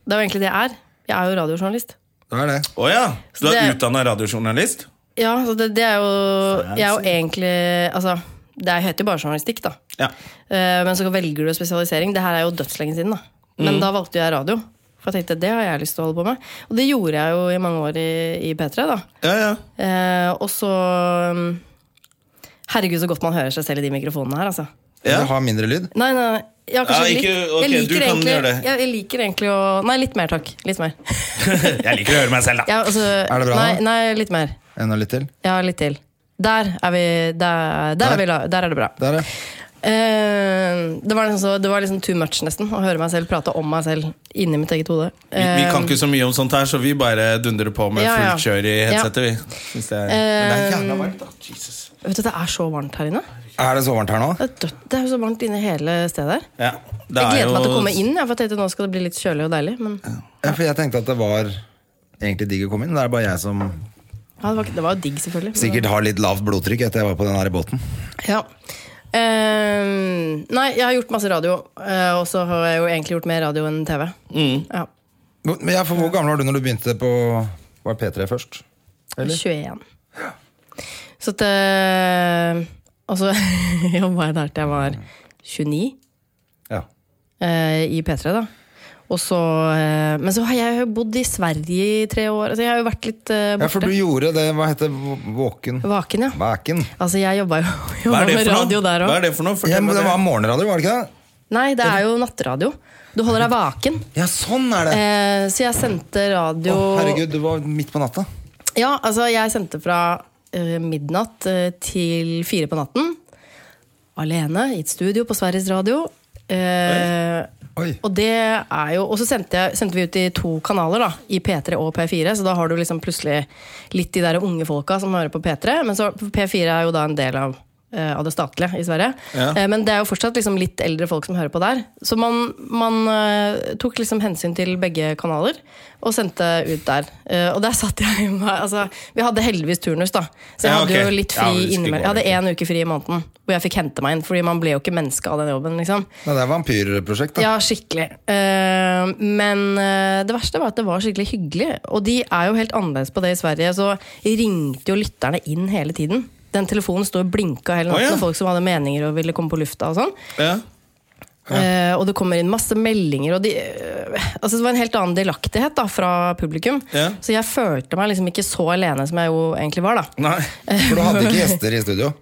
C: Det er jo egentlig det jeg er. Jeg er jo radiojournalist.
B: Det er det.
A: Å ja! Du
C: Så
A: er
C: det-
A: utdanna radiojournalist?
C: Ja, så det, det er jo Jeg er jo
A: Fancy.
C: egentlig Altså, det heter jo bare journalistikk, da.
A: Ja.
C: Eh, Men så velger du spesialisering. Det her er jo dødslenge siden, da. Men da valgte jeg radio. For jeg tenkte, det har jeg lyst til å holde på med. Og det gjorde jeg jo i mange år i, i P3, da.
A: ja, ja.
C: Eh, og så mm, Herregud, så godt man hører seg selv i de mikrofonene her, altså.
A: Ja.
B: Du har mindre lyd.
C: Nei, nei, nei. Ja, kanskje
A: Ja,
C: litt.
A: ikke- ok,
C: jeg,
A: du
C: liker
A: kan
C: egentlig,
A: gjøre det.
C: jeg, jeg liker egentlig å Nei, litt mer, takk. Litt mer.
A: Jeg liker å høre meg selv, da.
C: Ja, altså,
B: Er det bra
C: nei,
B: nå?
C: nei, litt mer.
B: Enda litt til.
C: Ja, litt til. Der er vi Der, der,
B: Der?
C: er, vi, la- der er det bra.
B: Der, ja.
C: Eh, det, var liksom så, det var liksom too much, nesten, å høre meg selv prate om meg selv inni mitt eget hode. Eh,
A: Vi, vi kan ikke så mye om sånt her, så vi bare dundrer på med
C: Ja, ja.
A: fullt kjør i headsetet, vi. Synes det er... Men det er jævla varmt, da. Jesus.
C: eh, Vet du, Det er så varmt her inne.
B: Er det så varmt her nå?
C: Det er, dødt, det er jo så varmt inne i hele stedet her.
A: Ja, det
C: Jeg
A: er
C: gleder meg til å
A: jo-
C: komme inn. Jeg, for jeg tenkte nå skal det bli litt kjølig og deilig. Men ja,
B: Ja, for jeg tenkte at det var egentlig digg å komme inn. Det er bare jeg som
C: det, var, ikke- det var jo digg, selvfølgelig. men-
B: sikkert har litt lavt blodtrykk etter jeg var på den her båten.
C: Ja. Eh, nei, jeg har gjort masse radio. eh, og så har jeg jo egentlig gjort mer radio enn TV.
A: Mm.
C: Ja,
B: Hvor- Men ja, for Hvor gammel var du når du begynte på Var det P3 først? Eller?
C: 21. Så at eh, Og så jobba jeg der til jeg var 29.
B: Ja.
C: eh, i P3, da. Og så, eh, men så har jeg jo bodd i Sverige i tre år. Altså, jeg har jo vært litt eh,
B: ja, for
C: borte.
B: du gjorde det Hva heter det? Våken?
C: Vaken, ja.
B: Vaken.
C: Altså, jeg jobba jo
A: Hva
C: jobba
A: er det
C: med
A: for
C: radio
A: noe?
C: der
A: Hva
C: òg.
A: er det for noe? Fortell
B: Ja, men
A: meg
B: det
A: det.
B: var morgenradio, var det ikke det?
C: Nei, det er jo nattradio. Du holder deg vaken.
B: Ja, sånn er det!
C: Eh, så jeg sendte radio
B: Å, herregud, du var midt på natta.
C: Ja, altså, jeg sendte fra eh, midnatt eh, til fire på natten. Alene i et studio på Sveriges Radio. Eh,
B: Oi.
C: Og det er jo Og så sendte, jeg, sendte vi ut i to kanaler, da. I P3 og P4. Så da har du liksom plutselig litt de der unge folka som hører på P3. Men så P4 er jo da en del av eh, av det statlige i Sverige.
A: Ja.
C: Eh, Men det er jo fortsatt liksom litt eldre folk som hører på der. Så man, man eh, tok liksom hensyn til begge kanaler og sendte ut der. Eh, og der satt jeg med altså, Vi hadde heldigvis turnus, da. Så jeg
A: Ja,
C: hadde
A: ok.
C: jo litt
A: Ja,
C: fri
A: det skulle gå
C: innimellom. Jeg hadde
A: litt.
C: én uke fri i måneden hvor jeg fikk hente meg inn. Fordi man ble jo ikke menneske av den jobben. liksom
B: Nei, det er vampyrprosjekt, da.
C: ja, skikkelig. Eh, men eh, det verste var at det var skikkelig hyggelig. Og de er jo helt annerledes på det i Sverige, så ringte jo lytterne inn hele tiden. Den telefonen sto og blinka hele
A: Å,
C: natten,
A: ja.
C: og folk som hadde meninger og ville komme på lufta. Og sånn
A: Ja.
C: Eh, og det kommer inn masse meldinger. Og de, eh, altså det var en helt annen delaktighet da, fra publikum.
A: Ja.
C: Så jeg følte meg liksom ikke så alene som jeg jo egentlig var. da Mm,
A: Nei.
B: For du hadde ikke gjester i studio.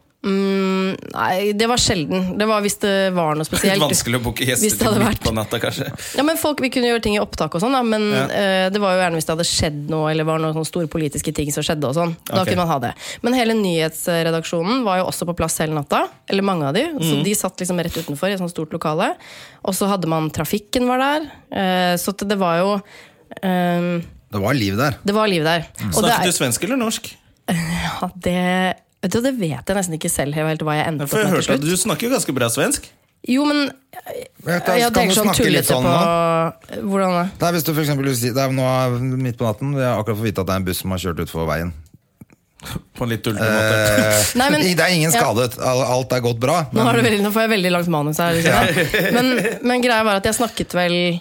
C: Nei, Det var sjelden. Det var hvis det var noe
A: Litt
C: spesielt.
A: vanskelig å booke
C: Hvis
A: gjester
C: det hadde
A: til midt
C: vært-
A: på natta, kanskje.
C: Ja, men folk, Vi kunne gjøre ting i opptak, og sånn da, men
A: Ja.
C: eh, det var jo gjerne hvis det hadde skjedd noe, eller var noen sånne store politiske ting som skjedde. og sånn, Da
A: Ok.
C: kunne man ha det. Men hele nyhetsredaksjonen var jo også på plass hele natta. eller mange av de, Så de satt liksom rett utenfor i et sånt stort lokale. Og så hadde man trafikken var der. eh, så at det var jo eh,
B: Det var liv der.
C: Det var liv der. Og det,
A: Snakker
C: er-
A: Mhm. du svensk eller norsk?
C: ja, det, vet du, det vet jeg nesten ikke selv helt hva jeg endte opp
A: For jeg
C: med til
A: hørte at
C: slutt.
A: du snakker jo ganske bra svensk.
C: Jo, men
B: Vet du,
C: jeg
B: kan du
C: tenker sånn
B: snakke litt sånn
C: tullete på
B: nå?
C: Hvordan da?
B: Nei, hvis du for eksempel vil si Det er nå er midt på natten, vi har akkurat fått vite at det er en buss som har kjørt utfor veien.
A: På en litt tullete måte.
B: Eh,
C: Nei, men-
B: det er ingen
C: ja.
B: skadet. Al- Alt er gått bra.
C: Nå, har du veldig, nå får jeg veldig langt manus her. liksom. Men, men greia var at jeg snakket vel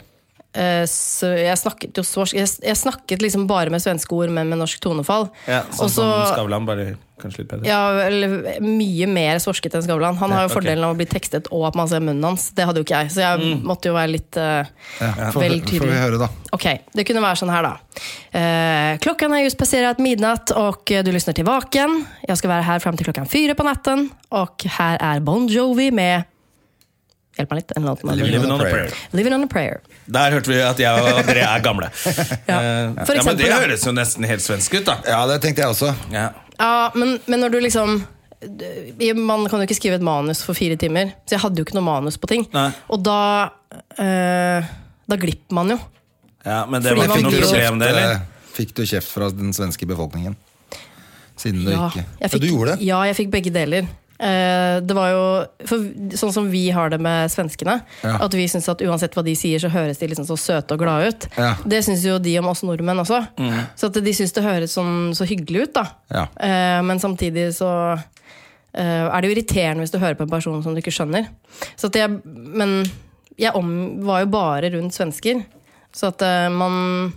C: eh, så jeg snakket jo svorsk jeg, jeg snakket liksom bare med svenske ord, men med norsk tonefall.
A: Ja, sånn
C: Og så-
A: som Skavlan, bare kanskje litt bedre.
C: ja, eller mye mer svorsket enn Skavlan. Han har
A: Ja, ok.
C: jo
A: Mm.
C: fordelen av å bli tekstet og at man ser munnen hans. Det hadde jo ikke jeg, så jeg måtte jo være litt eh,
B: får,
C: vel
B: får vi
C: tydelig.
B: høre, da.
C: Ok, det kunne være sånn her da. Eh, klockan har just passerat midnatt och eh, du lyssnar till Vaken. Jag ska vara här fram till klockan fyra på natten. Och här är Bon Jovi med... Hjälp mig lite, en låt.
B: Living on
A: Living
B: a
A: on a
B: prayer.
A: prayer.
C: Living on a prayer.
A: Der hørte vi at jeg og André er gamle.
C: Ja.
A: Eh,
C: For
A: ja, men
C: eksempel,
A: Det
C: da.
A: høres jo nesten helt svensk ut, da.
B: Ja, det tenkte jeg også.
A: Ja.
C: Ja, men, men når du liksom d- Man kan jo ikke skrive et manus for fire timer. Så jeg hadde jo ikke noe manus på ting.
A: Nei.
C: Og da eh, Da glipper man jo.
A: Ja, men det
C: Fordi
A: var ikke
C: man
A: noe
C: blir jo-
A: problem, det, eller?
B: eh, fikk du kjeft fra den svenske befolkningen? Siden du ikke
C: jeg fikk,
B: Ja, Du gjorde det?
C: Ja, jeg fikk begge deler. Eh, det var jo for, Sånn som vi har det med svenskene.
B: Ja.
C: At vi syns at uansett hva de sier, så høres de liksom så søte og glade ut.
B: Ja.
C: Det syns jo de om oss nordmenn også. Så at de syns det høres sånn så hyggelig ut, da.
B: Ja.
C: Eh, men samtidig så eh, er det jo irriterende hvis du hører på en person som du ikke skjønner. Så at jeg, men jeg om, var jo bare rundt svensker. Så at eh, man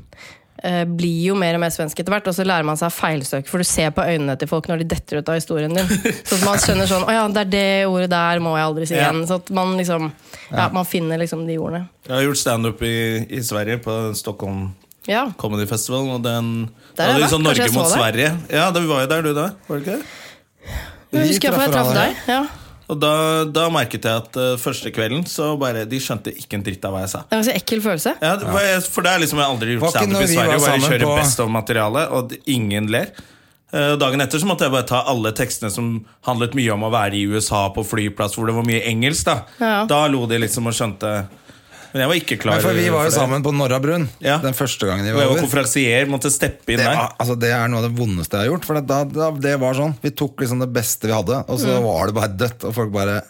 C: eh, blir jo mer og mer svensk etter hvert, og så lærer man seg å feilsøke, for du ser på øynene til folk når de detter ut av historien din. Så at man skjønner sånn Å ja, det er det ordet der må jeg aldri si
A: Ja.
C: igjen. Så at man liksom Ja, man finner liksom de ordene.
A: Jeg har gjort standup i, i Sverige, på Stockholm
C: Ja.
A: Comedy Festival. Og den,
C: Der
A: da
C: har
A: hadde
C: jeg
A: vi sånn
C: vært,
A: Norge
C: kanskje jeg
A: mot
C: så
A: Sverige. Ja, da var jo der, du da. Var det ikke det?
C: Jeg husker jeg, for jeg traff deg. Ja.
A: Og da, da merket jeg at eh, første kvelden så bare De skjønte ikke en dritt av hva jeg sa.
C: Det er en ganske ekkel følelse.
A: Ja, det var- for det er liksom jeg har aldri
B: Var
A: gjort
B: ikke når
A: standup i
B: vi
A: Sverige.
B: var
A: Bare
B: sammen
A: kjører
B: på-
A: best of-materiale, og d- ingen ler. Eh, og Dagen etter så måtte jeg bare ta alle tekstene som handlet mye om å være i USA på flyplass, hvor det var mye engelsk. Da
C: Ja.
A: Da lo de liksom og skjønte Men jeg var ikke klar
B: Men for vi var jo
A: det.
B: sammen på Norrabrun
A: Ja.
B: den første gangen vi
A: Og jeg
B: var
A: var
B: over.
A: konferansier, måtte steppe inn
B: Det,
A: der.
B: var, altså, det er noe av det vondeste jeg har gjort. For det, da, da, det var sånn Vi tok liksom det beste vi hadde, og
C: Mm.
B: så var det bare dødt. Og folk bare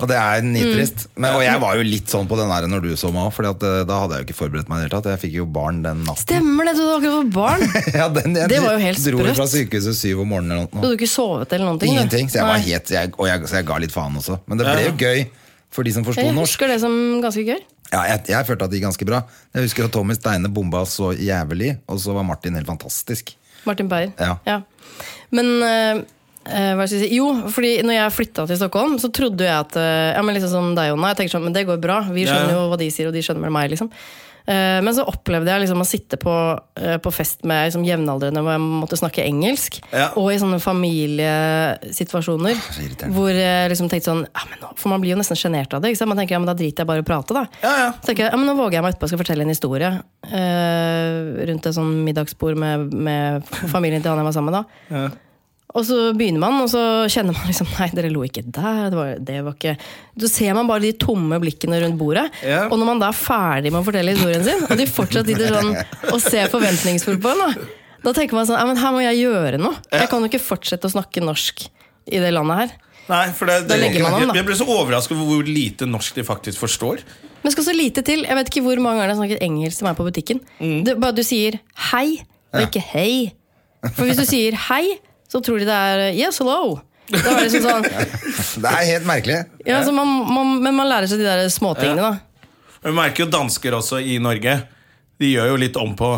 B: Og det er nitrist.
C: Mm.
B: Men, og jeg var jo litt sånn på den der når du så meg òg, for eh, da hadde jeg jo ikke forberedt meg i det hele tatt. Jeg fikk jo barn den natten.
C: Stemmer det, du hadde akkurat fått barn?
B: Ja, den, jeg
C: Det var jo helt
B: dro
C: sprøtt.
B: fra sykehuset syv om morgenen eller
C: Du
B: noe.
C: hadde ikke sovet eller noen ting? du?
B: Ingenting. Så jeg, var
C: Nei.
B: helt, jeg, og jeg, så jeg ga litt faen også. Men det ble
A: Ja.
B: jo gøy for de som forsto
C: Jeg
B: norsk.
C: husker det som ganske gøy.
B: Ja, jeg, jeg følte at det gikk ganske bra. Jeg husker at Tommy Steine bomba så jævlig, og så var Martin helt fantastisk.
C: Martin Beyer.
B: Ja.
C: Men eh, eh, hva skal jeg si? Jo, fordi når jeg flytta til Stockholm, så trodde jeg at eh, Ja, men liksom som deg, Jonna. Jeg tenker sånn, men det går bra. Vi
A: Ja,
C: skjønner
A: ja.
C: jo hva de sier, og de skjønner vel meg, liksom. Eh, Men så opplevde jeg liksom å sitte på, eh, på fest med liksom jevnaldrende hvor jeg måtte snakke engelsk.
A: Ja.
C: Og i sånne familiesituasjoner
B: Så irriterende.
C: hvor jeg liksom tenkte sånn ja, men nå, For man blir jo nesten sjenert av det. Ikke sant? Man tenker ja, men da driter jeg bare i å prate, da.
A: Ja, ja.
C: Så tenker jeg, ja, men Nå våger jeg meg etterpå og skal fortelle en historie eh, rundt et sånn middagsbord med, med familien til han jeg var sammen med. da. Og så begynner man, og så kjenner man liksom Nei, dere lo ikke der. det var, det var ikke... Så ser man bare de tomme blikkene rundt bordet.
A: Ja.
C: Og når man da er ferdig med å fortelle historien sin, og de fortsatt sitter sånn og ser forventningsfullt på en, da, da tenker man sånn ja, men her må jeg gjøre noe. Jeg kan jo ikke fortsette å snakke norsk i det landet her.
A: Nei, for det,
C: Da
A: det,
C: legger man an, da.
A: jeg, jeg ble så overrasket over hvor lite norsk de faktisk forstår.
C: Men det skal så lite til. Jeg vet ikke hvor mange ganger jeg har snakket engelsk til meg på butikken. Det, bare du sier hei, og ikke hei. For hvis du sier hei, så tror de det er yes, hello. Da er det liksom sånn,
B: Det er helt merkelig.
C: ja, så man, man, men man lærer seg de der småtingene, da.
A: Vi merker jo dansker også i Norge. De gjør jo litt om på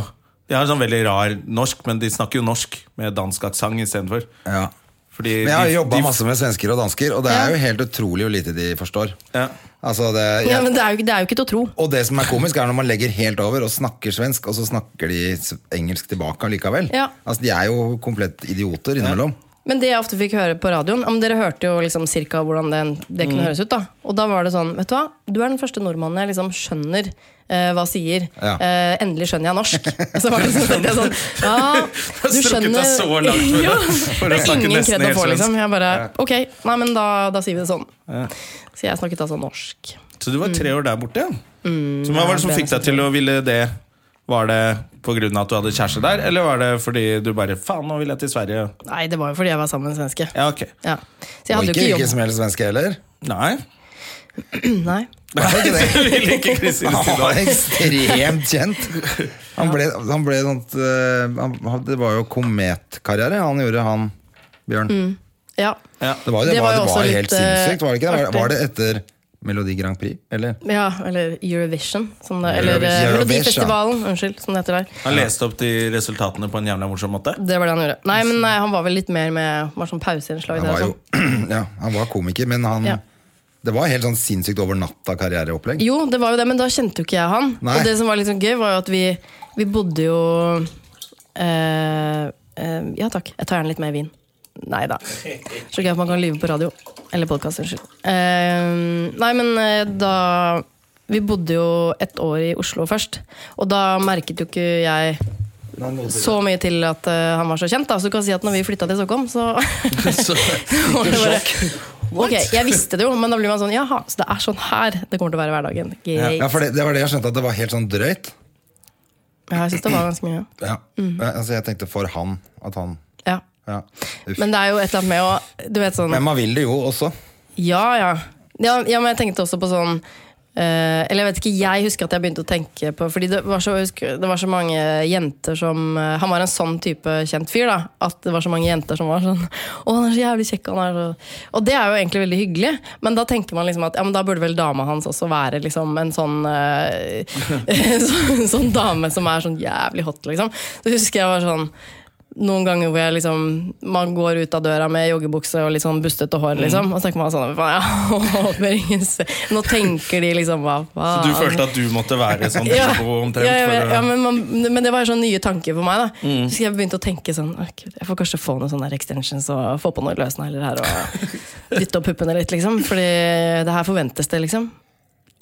A: De har sånn veldig rar norsk, men de snakker jo norsk med dansk aksent istedenfor.
B: Ja.
A: Fordi
B: Men jeg har
A: de-
B: jobba
A: de-
B: masse med svensker og dansker, og det er
C: Ja.
B: jo helt utrolig hvor lite de forstår.
A: Ja.
B: Altså det,
C: Ja,
B: jeg,
C: men det er, jo, ikke- det er jo ikke til å tro.
B: og det som er komisk, er når man legger helt over og snakker svensk, og så snakker de s- engelsk tilbake allikevel.
C: Ja.
B: Altså, de er jo komplett idioter innimellom.
C: Men det jeg ofte fikk høre på radioen ja, men Dere hørte jo liksom cirka hvordan det, det
A: Mm.
C: kunne høres ut. da Og da var det sånn Vet du hva, du er den første nordmannen jeg liksom skjønner eh, hva sier.
B: Ja.
C: Eh, endelig skjønner jeg norsk. Og så var det sånn, tenkte jeg sånn Ja, du
A: strukket
C: skjønner
A: deg så langt for å-
C: Ja,
A: for å
C: Det er
A: snakke
C: ingen
A: nesten
C: kred å
A: helt
C: få, liksom.
A: svensk.
C: Jeg bare Ok, nei, men da, da sier vi det sånn. Så jeg snakket altså norsk.
A: Så du var
C: Mm.
A: tre år der borte, ja. så hva var det som fikk deg til å ville det? Var det pga. at du hadde kjæreste der, eller var det fordi du bare Faen, nå vil jeg til Sverige.
C: Nei, det var jo fordi jeg var sammen med en svenske.
A: Ja, ok.
C: Ja. Så jeg
B: Og
C: hadde jo
B: ikke
C: ikke
B: hvilken
C: jobb.
B: som helst svenske heller.
A: Nei.
C: Nei.
B: Var ikke det?
A: Ville ikke Kristine si
B: Han var
A: det.
B: ekstremt kjent. Han ble, han ble sånt, eh, han, han- Det var jo kometkarriere han gjorde, han Bjørn.
C: Ja.
A: Ja.
B: Det var jo, det
C: Mm.
B: var,
C: Det var jo
B: det
C: også
B: var
C: litt,
B: helt sinnssykt, var det ikke? det? Var,
C: eh,
B: var det etter Melodi Grand Prix, eller?
C: ja. Eller Eurovision, som det, eller eh,
B: Eurovision.
C: Melodifestivalen. Unnskyld, som det heter der.
A: Han leste opp de resultatene på en jævla morsom måte.
C: Det var det han gjorde. Nei, men nei, han var vel litt mer med var sånn pauseinnslag.
B: Han
C: der
B: var
C: og
B: jo
C: sånn.
B: ja, han var komiker, men han
C: Ja.
B: Det var helt sånn sinnssykt over natta karriereopplegg.
C: Jo, det var jo det, men da kjente jo ikke jeg han.
B: Nei.
C: Og det som var litt sånn gøy, var jo at vi, vi bodde jo eh, eh, Ja takk, jeg tar gjerne litt mer vin. Nei da. Så gøy at man kan lyve på radio. Eller podkast, unnskyld. Eh, nei, men eh, da Vi bodde jo et år i Oslo først, og da merket jo ikke jeg så mye til at eh, han var så kjent. Da. Så du kan si at når vi flytta til Stockholm, så
A: Så,
C: Og det bare, Ok, jeg visste det jo, men da blir man sånn Jaha, så det er sånn her det kommer til å være hverdagen. Greit.
B: Ja,
C: Ja,
B: for det, det var det jeg skjønte, at det var helt sånn drøyt.
C: jeg synes det var ganske mye.
B: Ja.
C: Mm.
B: Ja, Altså, jeg tenkte for han at han
C: Ja.
B: ja. Uff.
C: Men det er jo et eller annet med å Du vet sånn
B: Men man vil det jo også.
C: Ja, ja. Ja, ja men jeg tenkte også på sånn eh, eller jeg vet ikke, jeg husker at jeg begynte å tenke på Fordi det var så, husker, det var så mange jenter som eh, Han var en sånn type kjent fyr, da. At det var så mange jenter som var sånn Å, han er så jævlig kjekk. Han er så... Og det er jo egentlig veldig hyggelig, men da tenker man liksom at ja, men da burde vel dama hans også være liksom en sånn eh, sånn, sånn dame som er sånn jævlig hot, liksom. Så husker jeg var sånn noen ganger hvor jeg liksom Man går ut av døra med joggebukse og litt sånn bustete
A: Mm.
C: hår, liksom. Og så tenker man sånn faen, jeg håper ingen ser Nå tenker de liksom hva faen.
A: du følte at du måtte være sånn
C: ja,
A: Bilbo omtrent?
C: ja, ja,
A: for Mm. å-
C: ja, men, man, men det var sånn nye tanker for meg. da Så jeg begynte å tenke sånn «Å, Gud, Jeg får kanskje få noen sånne der extensions og få på noen løsnegler her og dytte opp puppene litt, liksom. Fordi det her forventes det, liksom.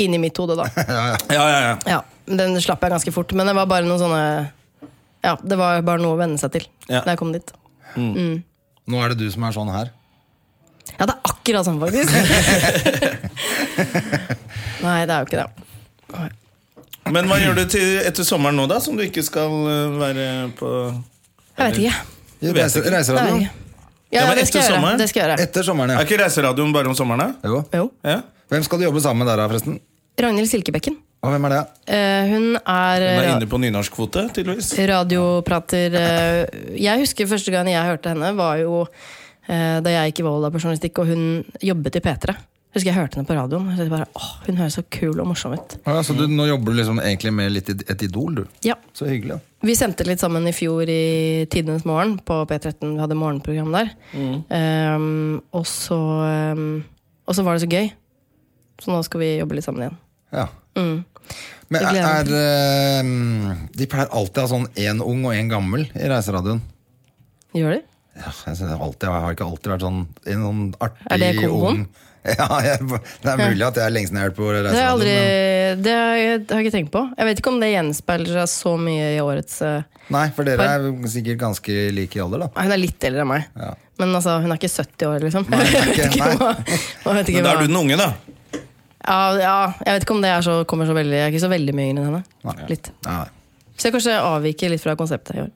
C: Inni mitt hode, da.
A: ja, ja, ja.
C: Ja, den slapp jeg ganske fort. Men det var bare noen sånne Ja, det var bare noe å venne seg til
A: Ja.
C: da jeg kom dit.
B: Nå er det du som er sånn her.
C: Ja, det er akkurat sånn, faktisk. Nei, det er jo ikke det.
A: Men hva gjør du til, etter sommeren nå, da, som du ikke skal eh, være på
C: Jeg vet ikke.
B: Jo,
A: vet
B: reiser-
A: ikke.
C: Det er
B: Reiseradioen.
C: ikke. Ja,
A: Ja, men etter
C: det skal jeg gjøre.
A: sommeren?
C: Det skal jeg gjøre.
B: Etter sommeren,
A: Er
B: ja.
A: ikke reiseradioen bare om sommeren, da?
B: Jo.
C: Jo.
A: Ja.
B: Hvem skal du jobbe sammen med der, da, forresten?
C: Ragnhild Silkebekken.
B: Og hvem er det?
C: Eh, hun
A: Hun
C: er,
A: er
C: ra-
A: inne på nynorskkvote, tydeligvis.
C: radioprater. eh, jeg husker første gang jeg hørte henne, var jo eh, da jeg gikk i Volda på journalistikk, og hun jobbet i P3. Husker jeg hørte henne på radioen. Og så bare, åh, hun høres så kul og morsom ut.
B: Å, ja, så du, nå jobber du liksom egentlig med litt id- et idol, du.
C: Ja.
B: Så hyggelig. da.
C: Vi sendte litt sammen i fjor i Tidenes morgen på P13. Vi hadde morgenprogram der.
B: Mm.
C: Ehm, og, så, ehm, og så var det så gøy. Så nå skal vi jobbe litt sammen igjen. Mm.
B: Ja. Men
C: Jeg
B: er,
C: gleder
B: er eh, De pleier alltid å ha sånn én ung og én gammel i reiseradioen.
C: Gjør de?
B: Ja, jeg, synes det er alltid, jeg har ikke alltid vært sånn en sånn artig
C: Er det komboen?
B: ung ja, jeg, Det er mulig at jeg er sånn, lenge siden jeg har hørt på
C: Det har jeg aldri
B: reiseradioen.
C: Det har jeg det har jeg ikke tenkt på. Jeg vet ikke om det gjenspeiler seg så mye i årets eh,
B: Men, nei, for dere er sikkert ganske like i alder, da.
C: Nei, Hun er litt eldre enn meg.
B: Ja.
C: Men altså, hun er ikke 70 år, liksom.
B: det er
C: Jeg vet
B: ikke-
C: ikke hva- jeg vet ikke
A: Men da er du
C: hva-
A: den unge, da.
C: Ja, ja, jeg vet ikke om det er så, kommer så veldig Jeg er ikke så veldig mye yngre enn henne. Litt.
B: Nei.
C: Så jeg kanskje avviker litt fra konseptet i år.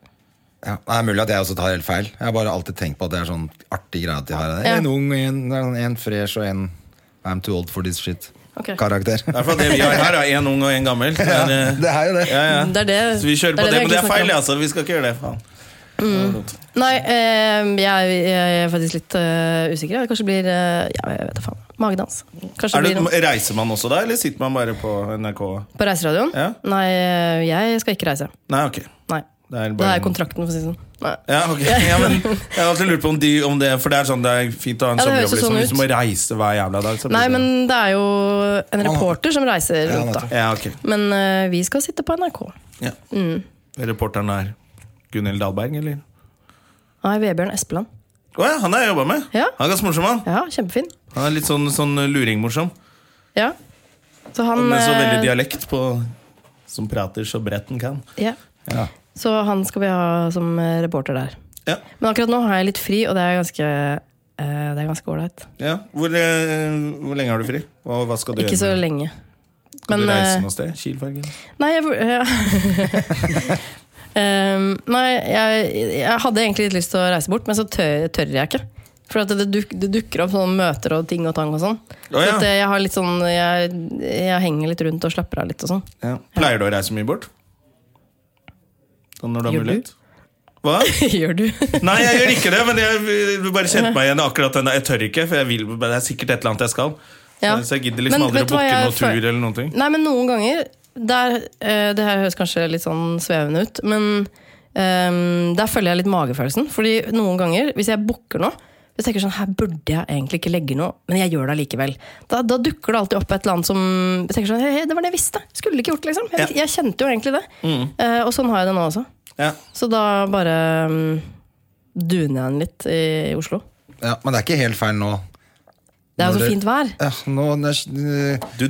B: Ja, det er mulig at jeg også tar helt feil. Jeg har bare alltid tenkt på at det er sånn artig greie at de har.
C: Ja.
B: En ung, en, det er sånn en fresh og en I'm too old for this
C: Ok.
B: shit-karakter.
A: Det er for at det vi har her, er én ung og én gammel. Det er, eh,
B: Det er jo det.
A: ja, ja.
C: Det er det,
A: Så vi kjører på det,
C: vi
A: men det
C: egentlig
A: er feil,
C: snakker om.
A: altså. Vi skal ikke gjøre det. faen
C: Nei, eh, jeg, er- jeg er faktisk litt eh, usikker. Det kanskje blir eh, Ja, jeg vet da faen. Magedans. Kanskje
A: er
C: det blir
A: du, reiser man også da, eller sitter man bare på NRK?
C: på reiseradioen?
A: Ja.
C: Nei, eh, jeg skal ikke reise.
A: Nei, ok.
C: Nei.
A: Det er
C: Det
A: bare
C: er kontrakten, for å si det sånn. Nei.
A: Ja, ok ja, men Jeg har alltid lurt på om, de, om det For det er sånn, det er fint å ha en
C: Ja, det
A: sommerjobb
C: høres jo
A: liksom.
C: sånn
A: Hvis du må reise hver jævla dag så blir
C: Nei,
A: det-
C: men det er jo en reporter som reiser rundt, da.
A: Ja, ok
C: Men eh, vi skal sitte på NRK. Mm.
A: ja. Reporteren er Gunnhild Dahlberg, eller?
C: Nei, Vebjørn Espeland.
A: Å ja, han har jeg jobbet med
C: Ja.
A: Han er ganske morsom, han
C: Ja, kjempefin.
A: Han er litt sånn, sånn luringmorsom
C: Ja. Så han
A: Med så veldig
C: eh,
A: dialekt på Som prater så bredt den kan
C: Ja. Så han skal vi ha som eh, reporter der.
A: Ja,
C: Men akkurat nå har jeg litt fri, og det er ganske eh, Det er ganske ålreit.
A: ja hvor, eh, hvor lenge har du fri? Hva, hva skal du
C: Ikke så
A: gjøre?
C: lenge.
A: Kan
C: Men,
A: du reise
C: eh,
A: noe sted? Kielfergen?
C: Nei, jeg vur- ja. Ehm, nei, jeg, jeg hadde egentlig litt lyst til å reise bort, men så tør, tør jeg ikke. For at det, duk, det dukker opp sånne møter og ting og tang og sånn.
A: Å, ja.
C: Så at eh, jeg, har litt sånn jeg, jeg henger litt rundt og slapper av litt og sånn.
A: Ja. Pleier du å reise mye bort? Sånn når du har
C: Gjør du?
A: mulighet? Hva?
C: Gjør du?
A: Nei, jeg gjør ikke det, men jeg du bare kjente meg igjen i akkurat den der. Jeg tør ikke, for jeg vil, men det er sikkert et eller annet jeg skal.
C: Ja.
A: Så jeg gidder liksom
C: Men
A: aldri
C: vet
A: å
C: du hva
A: booke
C: jeg
A: noe tur
C: føl-
A: eller noen ting.
C: Nei, men noen ganger der, eh, Det her høres kanskje litt sånn svevende ut, men ehm, der følger jeg litt magefølelsen. Fordi noen ganger, hvis jeg booker noe hvis jeg tenker sånn, Her burde jeg egentlig ikke legge noe, men jeg gjør det allikevel. Da, da dukker det alltid opp et eller annet som jeg tenker sånn, hei, hei, Det var det jeg visste! Skulle ikke gjort, liksom. Jeg, jeg kjente jo egentlig det.
B: Mm.
C: Eh, og sånn har jeg det nå også.
A: Ja.
C: Så da bare mm, duner jeg den litt i Oslo.
B: Ja, men det er ikke helt feil nå.
C: Det er jo
B: Når
C: så
B: det-
C: fint vær.
B: Ja, nå når-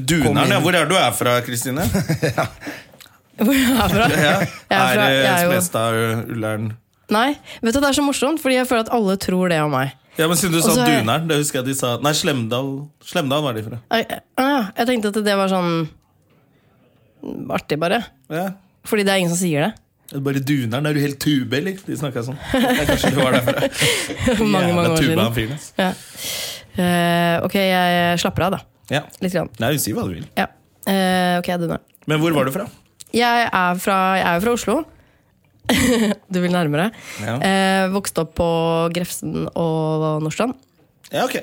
A: Du
B: Kom
A: duner den, ja.
B: inn.
A: Hvor er du er fra, Kristine?
C: Hvor jeg er fra.
A: Ja.
C: Jeg er fra-
A: Er det
C: jeg er jo-
A: Smestad, Ullern
C: Nei, vet du, det er så morsomt, fordi jeg føler at alle tror det om meg.
A: Ja, men siden du sa
C: Og så er-
A: Dunern, det husker jeg de sa Nei, Slemdal. Slemdal var de fra.
C: Ai, eh, ah, Jeg tenkte at det var sånn mm, artig, bare.
A: Ja.
C: Fordi det er ingen som sier det.
A: Er det Bare Dunern, er du helt tube, eller? De snakka sånn. Ja, Kanskje du var derfra.
C: For mange, mange år
A: tuba,
C: siden.
A: fyren, ass.
C: Eh, ok, jeg slapper av, da.
A: Ja.
C: Litt. Grann.
A: Nei, si hva du vil.
C: Ja. Eh, ok, jeg dunner.
A: Men hvor var du fra?
C: Jeg er fra, jeg er jo fra Oslo. du vil nærmere.
A: Ja.
C: Eh, vokste opp på Grefsen og Nordstrand.
A: Ja, ok.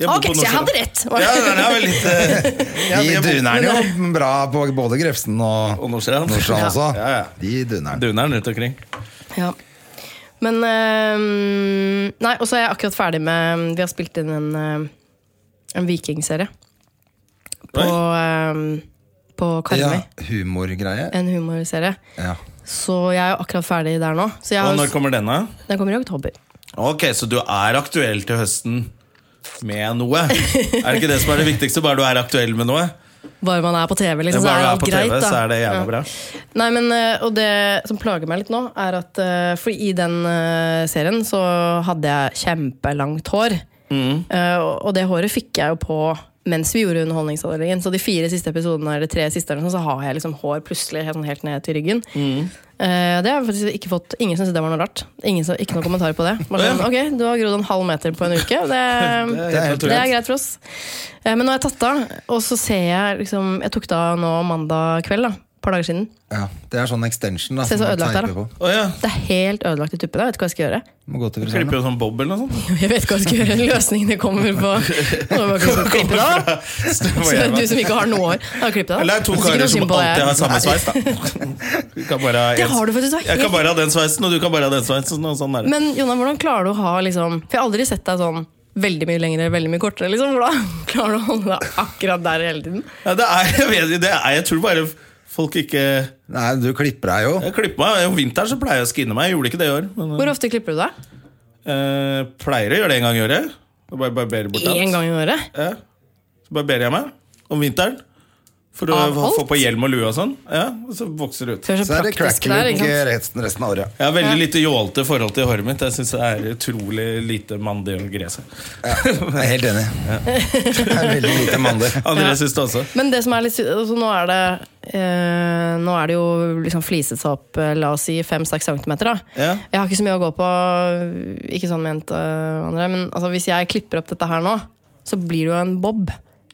A: Jeg bodde
C: Ok,
A: på
C: så jeg
A: Nordsjøen.
C: hadde rett!
A: Ja, den er vel litt eh, ja,
B: De
A: jeg bodde-
B: dunerne jo bra på både Grefsen og
A: Og Nordsjøen.
B: Nordsjøen også.
A: Ja, ja.
B: De dunerne.
A: Duneren rundt omkring.
C: Ja. Men eh, Nei, og så er jeg akkurat ferdig med Vi har spilt inn en, eh, en vikingserie. På, eh, på Karmøy.
B: Ja, humorgreie.
C: En humorserie.
B: Ja.
C: Så jeg er jo akkurat ferdig der nå. Så jeg
A: Og
C: har,
A: når kommer denne?
C: den kommer i oktober.
A: Ok, så du er aktuell til høsten med noe. Er det ikke det som er det viktigste? Bare du er aktuell med noe?
C: Bare man er på TV, liksom, så
A: bare
C: er
A: du er
C: alt
A: på
C: greit.
A: TV,
C: da.
A: så er det
C: Ja.
A: jævla bra.
C: Nei, men, eh, og det som plager meg litt nå, er at eh, Fordi i den eh, serien så hadde jeg kjempelangt hår.
A: Mm.
C: Eh, og- og det håret fikk jeg jo på mens vi gjorde Underholdningsavdelingen. Så de fire siste episodene eller tre siste eller sånn, så har jeg liksom hår plutselig helt, sånn, helt ned til ryggen.
A: Mm.
C: Eh, det har jeg faktisk ikke fått Ingen syntes det var noe rart. Ingen, som- ikke noen kommentarer på det. Bare sånn, ok, Du har grodd en halv meter på en uke. Det,
A: Det er helt
C: det er
A: naturlig.
C: greit for oss. Eh, Men nå har jeg tatt av, og så ser jeg liksom Jeg tok det av nå mandag kveld, da. Et par dager siden.
B: Ja, det er sånn extension. da
C: Se
B: som
C: så
B: man
C: ødelagt det er,
B: teiper
C: da.
B: på.
A: Å ja.
C: Det er helt ødelagt i tuppene. Jeg vet ikke hva jeg skal gjøre.
B: Må gå til frisøren.
A: Klipper jo sånn bob eller noe sånt.
C: Jeg vet ikke hva jeg skal gjøre. Løsningene kommer på Nå må jeg bare klippe det av. Så Du som ikke har noe hår, har klippet det av.
A: Eller det er to
C: Ikke noe
A: karer som
C: synd på deg.
A: alltid har samme sveis, da. Du kan bare ha
C: Det
A: en-
C: har du faktisk, du er
A: Jeg kan
C: helt-
A: bare ha den sveisen, og du kan bare ha den sveisen. Og sånn er det.
C: Men Jonas, hvordan klarer du å ha liksom For jeg har aldri sett deg sånn veldig mye lengre, veldig mye kortere, liksom. Hvordan klarer du å holde deg akkurat der hele tiden?
A: Ja, det er, jeg, vet, det er, jeg tror bare folk ikke
B: Nei, du klipper deg jo.
A: Jeg klipper meg. Om vinteren så pleier jeg å skinne meg. Jeg gjorde ikke det i år. Men,
C: Hvor ofte klipper du deg?
A: Eh, pleier å gjøre det en gang i året. Og bare barberer bort alt.
C: Én gang i året?
A: Ja. Så barberer jeg meg om vinteren. For å
C: Av
A: ha- få
C: alt?
A: på hjelm og lue og sånn. Ja, og så vokser det ut.
C: Det er
B: Så
C: så
B: er det
C: praktisk det der.
B: crackling
C: Ikke sant?
B: resten, resten av året.
A: Jeg har veldig lite jålete forhold til håret mitt. Jeg syns det er utrolig lite mandig og gresset.
B: Jeg er helt enig. Det er veldig lite mandel.
A: André syns det også.
C: Men det som er litt sy- altså, Nå er det eh, Nå er det jo liksom fliset seg opp, eh, la oss si fem-seks centimeter. Da.
A: Ja.
C: Jeg har ikke så mye å gå på, ikke sånn ment, eh, André, men altså, hvis jeg klipper opp dette her nå, så blir det jo en bob.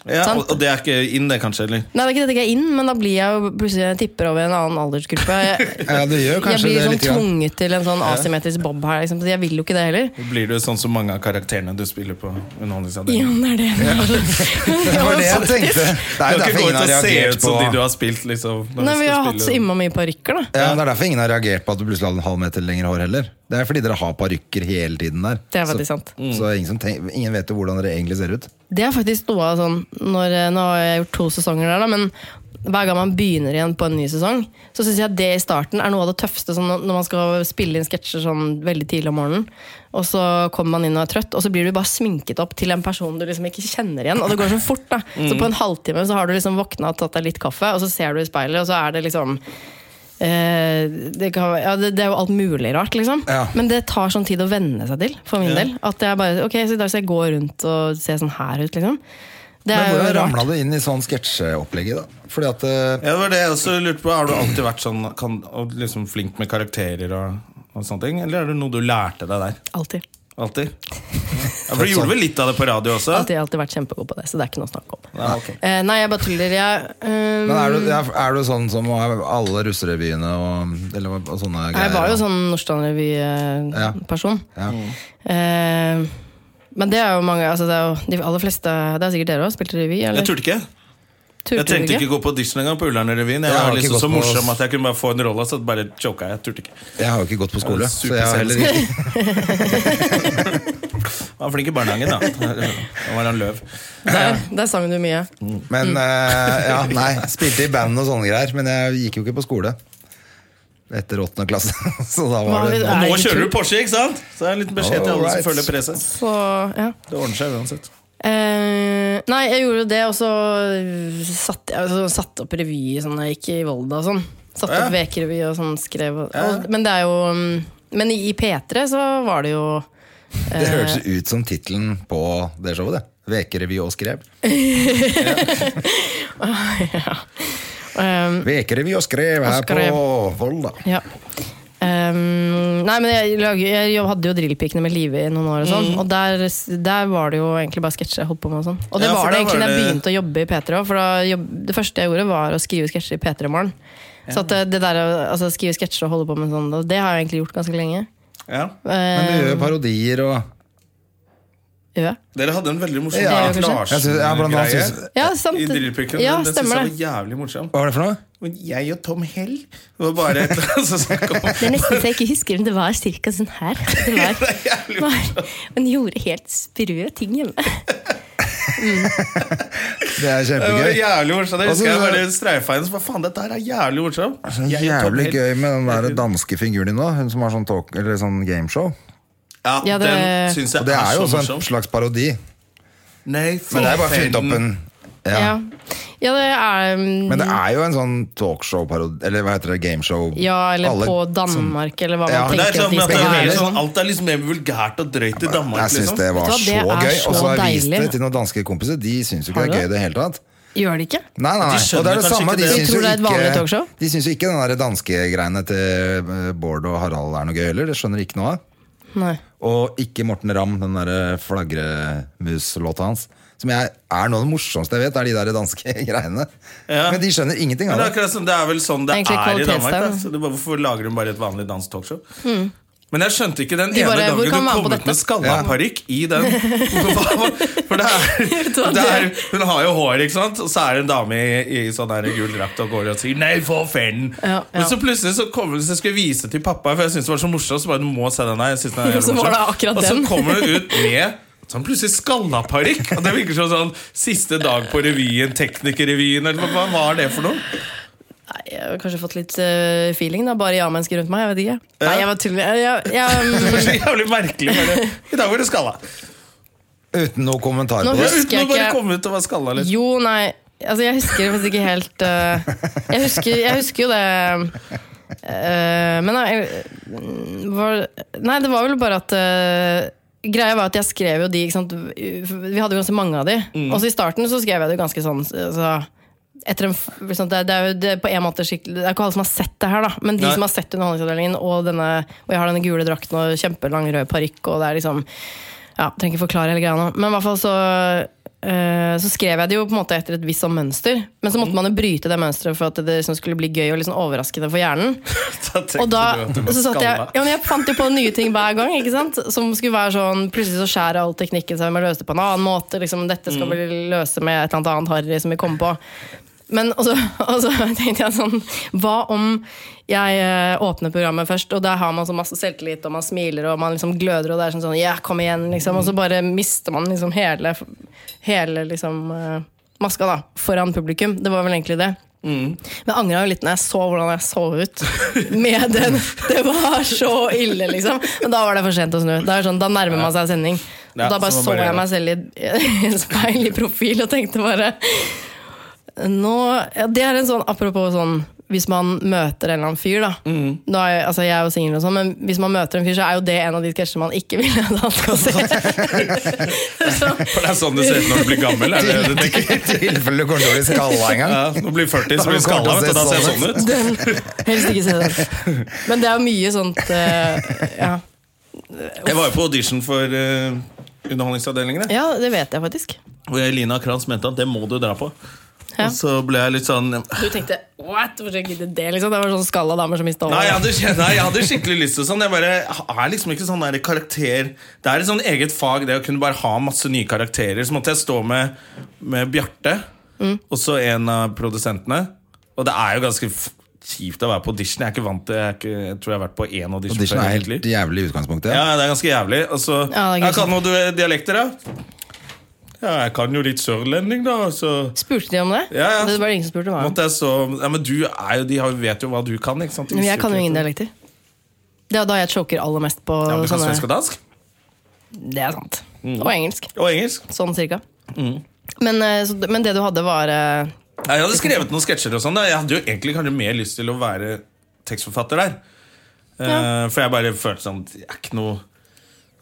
A: Ja,
C: Sant.
A: og, og det er ikke inn, det, kanskje? eller?
C: Nei, det er ikke dette jeg er inn, men da blir jeg jo plutselig jeg tipper over en annen aldersgruppe. Jeg,
B: Ja, det gjør
C: jeg
B: kanskje
C: blir
B: det
C: sånn
B: litt. Grann.
C: tvunget til en sånn asymmetrisk bob her, liksom, så jeg vil jo ikke det heller.
A: Blir du sånn som mange av karakterene du spiller på
C: Ja,
A: Underholdningsavdelingen?
C: det er det.
B: Det var det jeg tenkte. Det er jo
A: Du kan ikke
B: derfor
A: gå
B: ingen
A: ut
B: har
A: og se
B: reagert
A: ut som de du
B: på
A: har spilt, liksom. når
C: Nei,
A: du
C: vi
A: skal
C: har hatt så
A: spille.
C: innmari mye parykker, da.
B: ja, Det er derfor ingen har reagert på at du plutselig hadde en halv meter lengre hår heller. Det er fordi dere har parykker hele tiden der.
C: Det er
B: Så-
C: veldig sant.
A: Mm.
B: Så ingen, som tenk, ingen vet jo hvordan dere egentlig ser ut.
C: Det er faktisk noe av sånn når, Nå har jeg gjort to sesonger der, da, men hver gang man begynner igjen på en ny sesong, så syns jeg det i starten er noe av det tøffeste sånn når når man skal spille inn sketsjer sånn veldig tidlig om morgenen. Og så kommer man inn og er trøtt, og så blir du bare sminket opp til en person du liksom ikke kjenner igjen. Og det går så fort, da. Så på en halvtime så har du liksom våkna og tatt deg litt kaffe, og så ser du i speilet, og så er det liksom Eh, det, kan, ja, det, det er jo alt mulig rart, liksom.
B: Ja.
C: Men det tar sånn tid å venne seg til, for min del. At jeg bare, ok, så I dag skal jeg gå rundt og se sånn her ut, liksom.
B: Men
C: Det er jo
B: hvordan ramla
C: rart.
B: du inn i sånn sketsjeopplegget, da? Fordi at eh,
A: Ja, det var det jeg også lurte på. Har du alltid vært sånn kan, og liksom flink med karakterer og, og sånne ting? Eller er det noe du lærte deg der?
C: Alltid.
A: Alltid? Ja, for du gjorde vel litt av det på radio også?
C: Alltid, alltid vært kjempegod på det, så det er ikke noe å snakke om.
A: Ja, ok.
C: Eh, nei, jeg bare tuller. Jeg, eh,
B: Men er du, er, er du sånn som alle russerevyene og, eller, og sånne greier?
C: jeg var jo
B: da?
C: sånn
B: Ja.
C: Nordstrand-revy-person.
B: Ja.
C: Eh, men det er jo mange altså det er jo, De aller fleste Det er sikkert dere òg, spilte revy? Eller?
A: Jeg turte ikke.
C: Turte
A: Jeg
C: dere
A: trengte ikke gå på audition engang på Ullern-revyen. Jeg
B: Jeg har
A: var
B: ikke
A: liksom
B: gått
A: så
B: på-
A: morsom at jeg kunne bare få en rolle, så bare choka jeg. Jeg turte ikke.
B: Jeg har jo ikke gått på skole,
A: Ja,
B: så jeg har heller ikke
A: Han var flink i barnehagen, da. Da var han løv.
C: Der, der sang du mye.
B: Men eh, ja, nei, spilte i band og sånne greier, men jeg gikk jo ikke på skole. Etter åttende klasse. Så da var
C: Hva
B: det
C: vil-
A: Og
C: Nei,
A: nå
C: ikke
A: kjører du
C: kult.
A: Porsche, ikke sant? Så det er en liten beskjed til alle
B: Alright.
A: som følger presset.
C: Så ja.
A: Det ordner seg uansett.
C: Eh, nei, jeg gjorde det, og så satte jeg altså, satt opp revy sånn, jeg gikk i Volda og sånn. Satt
A: Ja.
C: opp VK-revy og sånn skrev. Og,
A: Ja.
C: og, men det er jo mm, Men i, i P3 så var det jo
B: Det hørtes ut som tittelen på det showet, det. Vekerevy og skrev.
C: eh,
B: Vekerevy og skrev her
C: Og skrev.
B: på Volda.
C: Ja. Ehm, nei, men jeg, lager, jeg jobb- hadde jo Drillpikene med Live i noen år, og
A: Mm.
C: sånn Og der, der var det jo egentlig bare sketsjer jeg holdt på med. Og, sånn. og det
A: Ja, for
C: var det
A: da var
C: egentlig da jeg
A: det-
C: begynte å jobbe i P3 også, For da jobb, det første jeg gjorde, var å skrive sketsjer i P3 Morgen. Så at det- det der, å- altså, skrive sketsjer og holde på med sånn, og det har jeg egentlig gjort ganske lenge. Eh,
A: Ja.
B: Men
C: Um,
B: du gjør jo parodier og
C: Gjør jeg?
A: Dere hadde en veldig morsom
B: Ja,
A: Clark
C: kanskje.
B: Jeg synes- ja, blant annet
A: Larsen-greie.
B: synes-
C: Ja, sant.
A: I Drillpikken.
C: Ja,
A: den syns
C: stemmer
A: jeg var
C: det.
A: jævlig morsom.
B: Hva var det for noe?
A: Men jeg og Tom Hell Det var bare et eller annet som snakket om
D: Det er nesten så jeg ikke husker, men det var cirka sånn her. Det var,
A: jævlig
D: var, hun gjorde helt sprø ting hjemme.
B: Det er
A: Det var
B: kjempegøy.
A: jævlig morsomt. Jeg
B: Altså,
A: husker jeg
B: det-
A: bare streifa inn. så Hva faen, dette her er jævlig morsomt.
B: Så
A: Jeg og Tom
B: Jævlig
A: Hell.
B: gøy med den der danske figuren din nå, hun som har sånn, talk, eller sånn gameshow.
A: Ja,
C: Ja, det-
A: den syns jeg
B: Og det er jo
A: så
B: også en
A: morsom.
B: slags parodi.
A: Nei,
B: Men det er bare funnet opp en
C: Ja.
B: ja.
C: ja, det er mm,
B: Men det er jo en sånn talkshow-parodi, eller hva heter det, gameshow
C: Ja, eller
B: Alle-
C: på Danmark, eller hva man
B: Ja, men
A: Det er
C: tenker
A: sånn,
C: at de
A: at det
C: skal
A: er
C: være.
A: helt sånn, alt er liksom mer vulgært og drøyt i Danmark.
B: Jeg syns
A: Liksom.
B: det var
C: Vet du hva,
B: så
C: det er
B: gøy.
C: så
B: Og så har jeg vist det
C: deilig.
B: til noen danske kompiser. De syns jo ikke
C: Har
B: det er
C: du
B: gøy
C: det?
B: i det hele tatt.
C: Gjør det ikke?
B: Nei, nei,
A: De
B: nei.
A: skjønner
B: Og det er det
A: kanskje
B: samme.
A: ikke
B: De
A: det.
B: syns
C: De
B: jo
C: tror det er et vanlig
B: ikke,
C: talkshow?
B: de syns jo ikke den der danske greiene til eh, Bård og Harald er noe gøy heller. Det skjønner de ikke noe av.
C: Nei.
B: Og ikke Morten Ramm, den derre flagremuslåta hans. Som jeg er noe av det morsomste jeg vet, er de der danske greiene.
A: Ja.
B: Men de skjønner ingenting
A: Men
B: av det.
A: det er akkurat sånn, det er vel sånn det er
C: Egentlig
A: i Danmark. Da.
C: kvalitetstegn.
A: Så det, bare- hvorfor lager de bare et vanlig dansk talkshow? Men jeg skjønte ikke den
C: Mm. De
A: ene
C: bare,
A: dagen
C: "Hvor
A: du
C: kan man være
A: kom
C: på
A: ut med
C: dette?"
A: skalla parykk i den. Hva- For det er, det er Hun har jo hår, ikke sant? Og så er det en dame i, i sånn der gul drakt og går og sier 'nei, for fanden'.
C: Ja, ja.
A: Men så plutselig så kommer hun, så jeg skulle vise til pappa, for jeg syntes det var så morsomt. Så bare, du må se den her, jeg synes den er jævlig
C: Så var det akkurat
A: morsom. Og så
C: den.
A: kommer hun ut med Sånn plutselig skalla parykk. Og Det virker som sånn siste dag på revyen, Teknikerrevyen, eller hva hva var det for noe?
C: Nei, jeg har kanskje fått litt eh, feeling, da. Bare ja-mennesker rundt meg. Jeg vet ikke. Nei, jeg var tull... Jeg, jeg, jeg,
A: Det var så jævlig merkelig bare. I dag var du skalla.
B: Uten noe kommentar
C: Nå
B: på det.
C: husker
A: Uten å
C: jeg
A: bare
C: ikke-
A: komme ut og være skalla litt.
C: jo, nei. Altså, jeg husker faktisk ikke helt eh, jeg, husker, jeg husker jo det eh, Men jeg, var, Nei, det var vel bare at eh, Greia var at jeg skrev jo de ikke sant? Vi hadde jo ganske mange av de. Og så i starten så skrev jeg det jo ganske sånn altså, etter en, f- liksom, det, er- det er jo det, er på en måte skikkelig Det er ikke alle som har sett det her, da. Men de
A: Nei.
C: som har sett Underholdningsavdelingen, og, denne, og jeg har denne gule drakten og kjempelang rød parykk, og det er liksom ja, Trenger ikke forklare hele greia nå. Men i hvert fall så eh, så skrev jeg det jo på en måte etter et visst sånn mønster, men så måtte man jo bryte det mønsteret for at det liksom skulle bli gøy og liksom overraskende for hjernen.
A: tenkte
C: Og da
A: du at du
C: så satt jeg,
A: skalla.
C: ja, men jeg fant jo på nye ting hver gang. ikke sant? Som skulle være sånn, Plutselig så skjærer all teknikken seg, vi må løse det på en annen måte. liksom, Dette
A: Mm.
C: skal vi løse med et eller annet annet harry som vi kom på. Men og så, og så tenkte jeg sånn Hva om jeg eh, åpner programmet først, og der har man så masse selvtillit, og man smiler og man liksom gløder, og det er sånn sånn Ja, kom igjen, liksom. Og så bare mister man liksom hele, hele liksom eh, maska da, foran publikum. Det var vel egentlig det. Men jeg angra jo litt når jeg så hvordan jeg så ut med den. Det var så ille, liksom. Men da var det for sent å snu. Da, er det sånn, da nærmer man seg sending.
A: Ja,
C: Og da bare
A: så
C: så,
A: man bare gjør
C: jeg meg selv i, i speil i profil og tenkte bare nå, ja, Det er en sånn apropos sånn hvis man møter en eller annen fyr, da.
A: Mm.
C: Nå er, jeg- altså, jeg er jo singel, og sånn, men hvis man møter en fyr, så er jo det en av de sketsjene man ikke vil at han skal se.
A: For det er sånn det ser ut når du blir gammel. Er det det du tenker?
B: I tilfelle du kommer til å bli skalla en gang.
A: Ja, når du blir 40, så
B: Da
A: blir du
B: kommer
A: skalla.
B: det
A: vet du,
B: til
A: Da
B: å
A: ser jeg
B: se
A: sånn ut.
C: Den, helst ikke se den. Men det er jo mye sånt eh, ja.
A: Jeg var jo på audition for eh, Underholdningsavdelingen. jeg.
C: ja, det vet jeg faktisk.
A: Hvor Elina Kranz mente at det må du dra på.
C: Ja.
A: Og så ble jeg litt sånn
C: Du tenkte what? Hvorfor gidde det? liksom? Det var sånn skalla damer som mista
A: Nei, jeg hadde, nei, jeg hadde skikkelig lyst til sånn. Jeg bare er liksom ikke sånn der karakter Det er et sånn eget fag, det å kunne bare ha masse nye karakterer. Så måtte jeg stå med, med Bjarte,
C: Mm.
A: og så en av produsentene. Og det er jo ganske f- kjipt å være på audition. Jeg er ikke vant til Jeg, er ikke, jeg tror jeg har vært på én audition,
B: Audition
A: før i
B: er
A: mitt liv.
B: helt jævlig i utgangspunktet.
A: Ja, det er ganske jævlig. Og så
C: Ja, det er
A: Jeg
C: grusomt.
A: kan noen du- dialekter, da. Ja, jeg kan jo litt sørlending, da. Så
C: Spurte de om det?
A: Ja, ja.
C: Det var det ingen som spurte meg om.
A: måtte jeg så Ja, Men du er jo, de har jo- vet jo hva du kan, ikke sant? De
C: Men
A: visste
C: jeg kan jo
A: ikke-
C: ingen dialekter. Det er da jeg choker aller mest på
A: Ja, men Mm. du kan
C: sånne
A: svensk og dansk?
C: Det er sant. Og engelsk.
A: Og engelsk?
C: Sånn cirka.
A: Mm.
C: Men, eh, så, men det du hadde, var eh,
A: Ja, jeg hadde skrevet noen sketsjer og sånn. da. Jeg hadde jo egentlig kanskje mer lyst til å være tekstforfatter der. Eh, For jeg bare følte sånn Det er ikke noe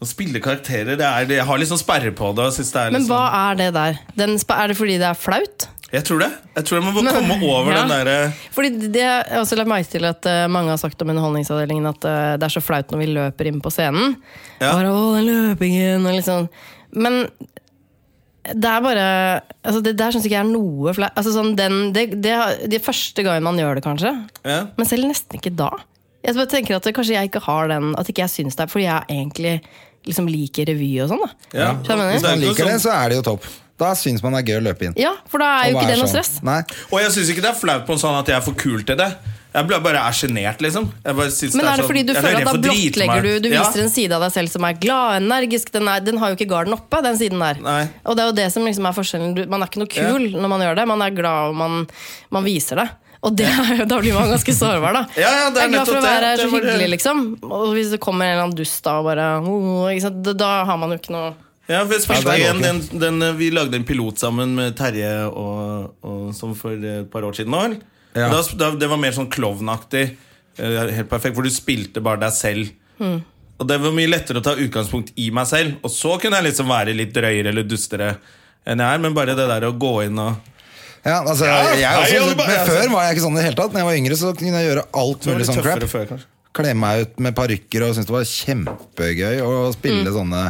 A: å spille karakterer. Det er, jeg har liksom sperre på det. og synes det er
C: Men
A: liksom,
C: hva er det der? Den, spa- er det fordi det er flaut?
A: Jeg tror det. Jeg tror jeg må
C: Men-
A: komme over
C: Ja.
A: den derre
C: Fordi det jeg har også lagt merke til at eh, mange har sagt om underholdningsavdelingen at eh, det er så flaut når vi løper inn på scenen.
A: Ja.
C: Bare, å, den løpingen og litt sånn. Men det er bare altså Det der syns ikke jeg er noe flaut. Altså sånn, den- det, det, har- de første gangen man gjør det, kanskje.
A: ja.
C: Men selv nesten ikke da. Jeg bare tenker at Kanskje jeg ikke har den At ikke jeg syns det er fordi jeg egentlig liksom liker revy og sånn. da
A: Ja.
C: Skjønner du?
A: Det er
B: Hvis man
A: ikke noe
B: liker det,
A: sånn-
B: så er det jo topp. Da syns man det er gøy å løpe inn.
C: Ja, for da er jo
B: Og
C: ikke
B: bare
C: det noe
B: sånn.
C: stress.
B: Nei.
A: Og jeg syns ikke det er flaut på en sånn at jeg er for kul til det. Jeg ble- bare er sjenert, liksom. Jeg bare synes
C: Men er det fordi du
A: jeg
C: føler
A: redd
C: at da
A: for å drite
C: blottlegger du
A: meg.
C: Du viser
A: ja.
C: en side av deg selv som er glad, energisk Den, er, den har jo ikke garden oppe, den siden der
A: Nei.
C: Og det er jo det som liksom er forskjellen du, Man er ikke noe kul når man gjør det Man er glad og man, man viser det og det, er jo- da blir man ganske sårbar da
A: Ja, ja, det er
C: Jeg er glad for
A: nettopp
C: å
A: det.
C: være her så
A: Det var det.
C: hyggelig liksom Og hvis det kommer en eller annen dust da og bare, «Åh», ikke sant? Da- Da har man jo ikke noe
A: Ja, for jeg spilte
B: Ja, det er
A: igjen den, den, eh, Vi lagde en pilot sammen med Terje og, og, som for et par år siden. nå, vel?
B: Ja.
A: Da, da, det var mer sånn klovnaktig. eh, Helt perfekt, Hvor du spilte bare deg selv. Og det var mye lettere å ta utgangspunkt i meg selv. Og så kunne jeg liksom være litt drøyere eller dustere enn jeg er. Men bare det der å gå inn og
B: Ja, altså, jeg,
A: nei,
B: også-
A: jeg hadde bare-
B: men
A: altså-
B: før var jeg ikke sånn i det hele tatt. Når jeg var yngre, så kunne jeg gjøre alt
A: Det var
B: mulig
A: litt
B: sånn crap.
A: tøffere før, kanskje.
B: Kle meg ut med parykker og syntes det var kjempegøy å
C: Mm.
B: spille sånne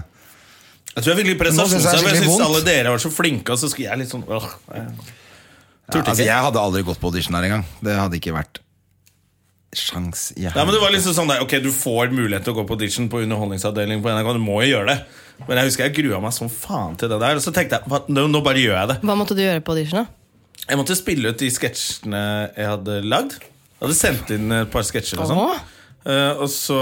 A: Jeg tror jeg fikk litt
B: Nå synes jeg det er
A: prestasjonsarbeid. Jeg
B: skikkelig
A: syns
B: vondt.
A: alle dere var så flinke, og så skulle jeg litt sånn åh, jeg
B: ja,
A: Turte
B: altså,
A: ikke.
B: Jeg hadde aldri gått på audition her engang. Det hadde ikke vært sjans i
A: Nei, men det
B: helvete.
A: var liksom sånn der, ok, Du får mulighet til å gå på audition på underholdningsavdelingen på NRK. Du må jo gjøre det. Men jeg husker jeg grua meg som faen til det der. Og så tenkte jeg "Hva- nå, nå bare gjør jeg det.
C: Hva måtte du gjøre på auditionet?
A: Jeg måtte spille ut de sketsjene jeg hadde lagd. Jeg hadde sendt inn et par sketsjer og sånn.
C: Åh.
A: Eh, og så,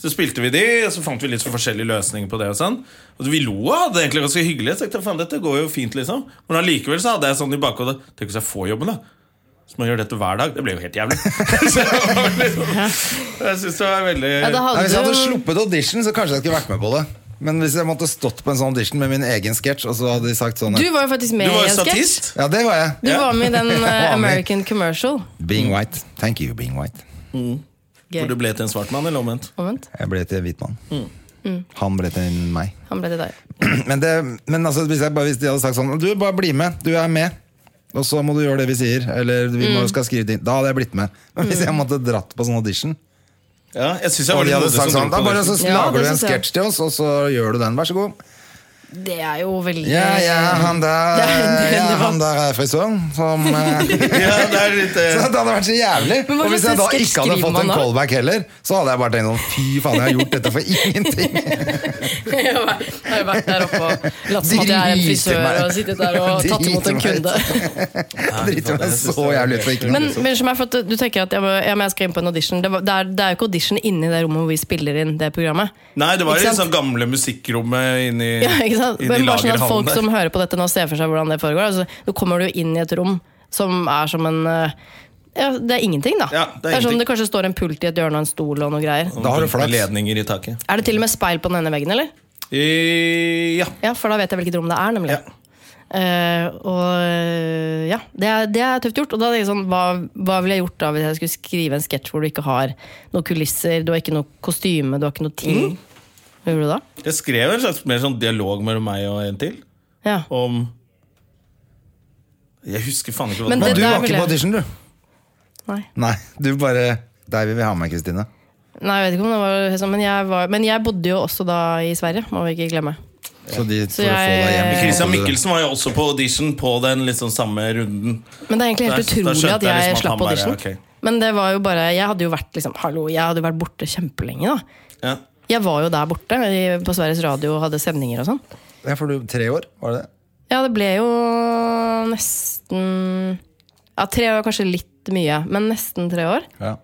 A: så spilte vi de, og så fant vi litt for forskjellige løsninger på det. Og sånn Og vi lo og hadde det egentlig ganske hyggelig. Så jeg tenkte, faen, dette går jo fint liksom Men allikevel så hadde jeg sånn i bakhodet Tenk hvis jeg får jobben, da. Så må jeg gjøre dette hver dag. Det blir jo helt jævlig. så jeg var liksom, jeg synes det var veldig
C: Ja, da
B: Nei,
C: hadde
B: hvis jeg hadde
C: du
B: sluppet audition, så kanskje jeg skulle vært med på det. Men hvis jeg måtte stått på en sånn audition med min egen sketsj, og så hadde de sagt sånn
C: Du var jo faktisk med
A: Du var jo
C: i en sketsj
A: statist.
B: Ja, det var jeg.
C: Du
A: Ja.
C: var med i den
B: med.
C: eh, American Commercial
B: Being white. Thank you, being white.
C: Gøy,
A: Hvor du ble til en svart mann, eller omvendt.
C: omvendt
B: Jeg ble til en hvit mann.
C: Mm.
B: Han ble til en meg.
C: Han ble til deg
B: Men, det, men altså, hvis, jeg bare, hvis de hadde sagt sånn Du, bare bli med. Du er med. Og så må du gjøre det vi sier. Eller vi
C: Mm.
B: må, skal skrive ting. Da hadde jeg blitt med. Men hvis jeg måtte dratt på sånn audition
A: Ja, jeg synes jeg
B: Og
A: var
B: de
A: litt
B: hadde
A: modig som
B: sagt sånn
A: dro
B: Da
A: på
B: bare
A: det.
B: så
C: Ja, det
B: lager du en
C: synes jeg.
B: sketsj til oss, og så gjør du den. Vær så god.
C: Det er jo veldig
B: Ja, ja, han der,
C: Det er- det er-
B: ja, han der er frisøren som eh,
A: Ja, det er litt
B: Så
A: eh,
B: det hadde vært så jævlig.
C: Men hva
B: Og hvis jeg
C: slags
B: da
C: sketsj
B: ikke hadde
C: skriver
B: fått
C: man
B: en
C: da?
B: callback heller, så hadde jeg bare tenkt sånn Fy faen, jeg har gjort dette for ingenting.
C: Jeg har jo vært der oppe og latt som at jeg er en frisør og sittet der og tatt imot en kunde.
B: Driter meg så jævlig ut for ikke noe.
C: Men, men som jeg, for at du tenker at jeg, må- ja, men jeg skal inn på en audition. Det, var, det, er, det er jo ikke audition inni det rommet hvor vi spiller inn det programmet.
A: Nei, det var
C: Ikke
A: i det
C: sant?
A: sånn gamle musikkrommet inni,
C: Ja, ikke sant?
A: inni
C: Men bare sånn at
A: lagerhallen
C: folk
A: der.
C: som hører på dette nå ser for seg hvordan det foregår. Altså, nå kommer du jo inn i et rom som er som en eh, ja, Det er ingenting, da.
A: Ja, det er
C: sånn
A: ingenting.
C: det kanskje står en pult i et hjørne og en stol og noe greier.
B: Da har du
A: Med
B: flaks.
A: Ledninger i taket.
C: Er det til og med speil på den ene veggen, eller?
A: I, ja.
C: Ja, for da vet jeg hvilket rom det er, nemlig.
A: Ja.
C: Eh, og eh, ja, det er, det er tøft gjort. Og da tenker jeg sånn, hva, hva ville jeg gjort da hvis jeg skulle skrive en sketsj hvor du ikke har noen kulisser, du har ikke noe kostyme, du har ikke noe ting?
A: Mm.
C: Hva gjorde du da?
A: Jeg skrev en slags mer sånn dialog mellom meg og en til
C: Ja.
A: om Jeg husker faen ikke hva
C: Men
B: Men
A: det var.
C: det-
B: du
C: der
B: var
C: vil
B: ikke på
C: jeg-
B: audition, du.
C: Nei.
B: Nei, du bare Deg vil vi ha med, Kristine.
C: Nei, jeg vet ikke om det var sånn, men jeg, var, men jeg bodde jo også da i Sverige, må vi ikke glemme.
B: Så de for
C: Så
B: å få deg
C: jeg-
B: hjem.
A: Christian Mikkelsen var jo også på audition på den liksom samme runden.
C: Men det er egentlig helt
A: Der- der
C: utrolig
A: skjønte
C: at
A: jeg liksom
C: jeg
A: at han
C: slapp
A: bare,
C: audition.
A: ok.
C: Men det var jo bare Jeg hadde jo vært liksom, hallo, jeg hadde jo vært borte kjempelenge, da.
A: Ja.
C: Jeg var jo der borte i- på Sveriges Radio og hadde sendinger og sånn.
B: Ja, for du tre år, var det det?
C: Ja, det ble jo nesten Ja, tre år er kanskje litt mye, men nesten tre år.
B: Ja.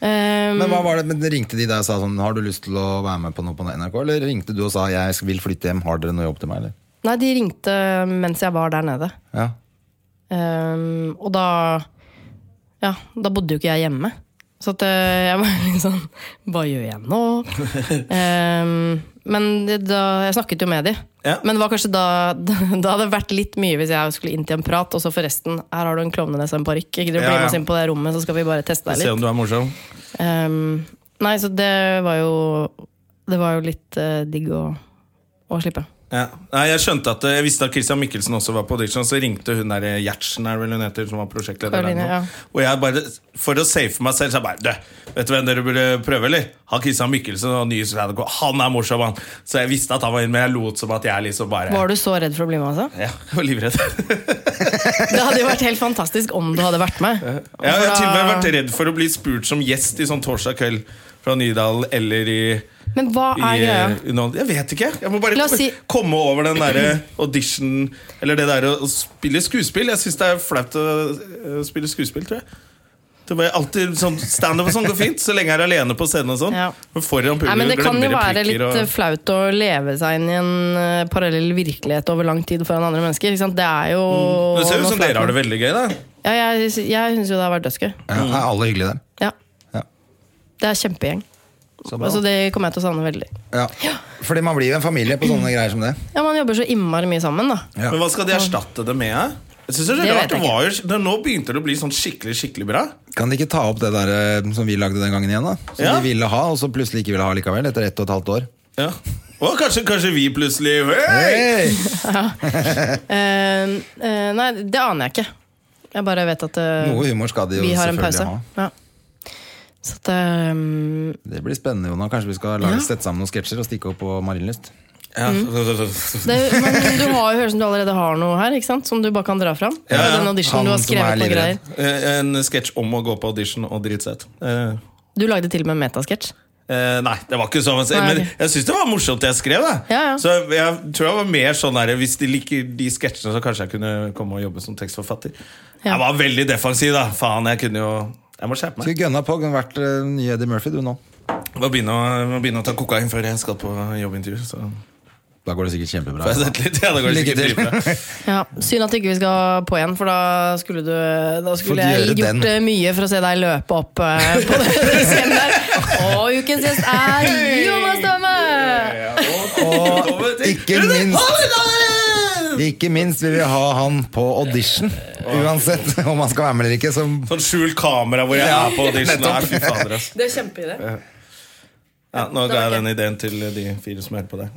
C: Um,
B: Men
A: Mm.
B: hva var det, men ringte de deg og sa sånn Har du lyst til å være med på noe på NRK? Eller ringte du og sa jeg skal- vil flytte hjem, har dere noe jobb til meg, eller?
C: Nei, de ringte mens jeg var der nede.
B: Ja.
C: Um, og da Ja, da bodde jo ikke jeg hjemme. Så at, eh, jeg var litt sånn Hva gjør jeg nå? um, men det, da, jeg snakket jo med de.
A: Ja.
C: Men det var kanskje da Da hadde det vært litt mye hvis jeg skulle inn til en prat, og så forresten, her har du en klovnenese og en parykk. Ikke du
A: Ja,
C: blir med
A: ja.
C: oss inn på det rommet, så skal vi bare teste deg
A: Se
C: litt.
A: om du er morsom.
C: Um, nei, så det var jo Det var jo litt eh, digg å, å slippe.
A: Ja. Nei, jeg skjønte at eh, jeg visste at Christian Mikkelsen også var på audition, så ringte hun der eh, Gjertsen, er det vel hun heter, som var prosjektleder der
C: Karoline,
A: nå.
C: ja.
A: Og jeg bare, for å safe meg selv, så jeg bare Du, vet du hvem dere burde prøve, eller? Han Christian Mikkelsen og nye Sradko, han er morsom, han! Så jeg visste at han var inne, men jeg lot som at jeg liksom bare
C: Var du så redd for å bli med, altså?
A: Ja, jeg var livredd.
C: Det hadde jo vært helt fantastisk om du hadde vært med.
A: Jeg har
C: For da-
A: til og med vært redd for å bli spurt som gjest i sånn torsdag kveld fra Nydalen eller i
C: Men hva
A: i,
C: er greia?
A: eh, noen- jeg vet ikke. Jeg må bare
C: Ah, La oss si-
A: komme over den derre audition Eller det der å spille skuespill. Jeg syns det er flaut å eh, spille skuespill, tror jeg. Det var alltid sånn Standup og sånn går fint, så lenge jeg er alene på scenen. og sånn
C: Ja.
A: Men foran
C: Nei,
A: publikum
C: men Det kan jo
A: glemmer
C: være litt
A: replikker
C: eh, flaut å leve seg inn i en eh, parallell virkelighet over lang tid foran andre mennesker. Ikke sant? Det er jo
A: og Mm, Det ser ut
C: noe
A: som
C: flaut
A: dere har det
C: med-
A: veldig gøy, da.
C: Ja, jeg sy- jeg syns jo det har vært dødsgøy.
A: Mm.
B: ja er alle hyggelige der?
C: Ja.
B: Ja.
C: Det er kjempegjeng.
B: Så bra.
C: Altså, det kommer jeg til å savne veldig.
B: ja. Fordi man blir jo en familie på sånne greier som det.
C: Ja, Man jobber så innmari mye sammen, da.
B: Ja.
A: Men hva skal de erstatte det med? eh? Jeg synes det er
C: Det
A: rart,
C: vet jeg
A: det var jo, det, Nå begynte det å bli sånn skikkelig skikkelig bra.
B: Kan de ikke ta opp det der eh, som vi lagde den gangen igjen, da? Som
A: Ja.
B: de ville ha, og så plutselig ikke ville ha likevel, etter ett og et halvt år.
A: Ja. Og kanskje, kanskje vi plutselig hey!
B: Hey!
C: Eh, eh, nei, det aner jeg ikke. Jeg bare vet at eh,
B: Noe humor skal de jo
C: vi har en
B: selvfølgelig
C: pause.
B: ha.
C: Ja. Så at eh,
B: Det blir spennende, Jonah. Kanskje vi skal lage, sette sammen noen sketsjer og stikke opp på Marienlyst?
A: Ja.
C: det, Men du har jo hørt som du allerede har noe her, ikke sant? som du bare kan dra fram.
A: Ja, ja.
C: Den
B: Han
C: auditionen du har
B: som er
C: skrevet noen
B: livredd.
C: greier.
A: Eh, En sketsj om å gå på audition og dritsett. Eh,
C: Du lagde til og med en metasketsj.
A: Eh, nei, det var ikke sånn.
C: Nei,
A: Men
C: ok.
A: jeg syns det var morsomt det jeg skrev. Da.
C: Ja, ja.
A: Så jeg tror jeg var mer sånn der, Hvis de liker de sketsjene, så kanskje jeg kunne komme og jobbe som tekstforfatter.
C: Ja.
A: Jeg var veldig defensiv, da. Faen, jeg kunne jo Jeg må skjerpe meg.
B: Skulle gønna på. Kunne vært eh, ny Eddie Murphy, du nå.
A: Jeg må begynne å, jeg må begynne å ta kokain før jeg skal på jobbintervju. Så
B: Da går det sikkert
A: får
B: kjempebra.
A: jeg sett litt. Ja, det går
B: Lykke
A: sikkert
B: til.
A: dritbra.
C: Ja, synd at ikke vi skal på igjen, for da skulle du Da skulle
B: Fått
C: jeg
B: gjøre den.
C: gjort eh, mye for å se deg løpe opp eh, på den scenen der. Og ukens gjest er Jonas Dømme!
A: Og
B: Ikke minst Ikke minst vil vi ha han på audition. Uansett om han skal være med eller ikke. Så
A: Sånn skjult kamera hvor jeg er på audition. Nei, fy fader, ass.
C: Det er kjempeidé.
A: Ja, nå ga jeg den ideen til de fire som hører på deg.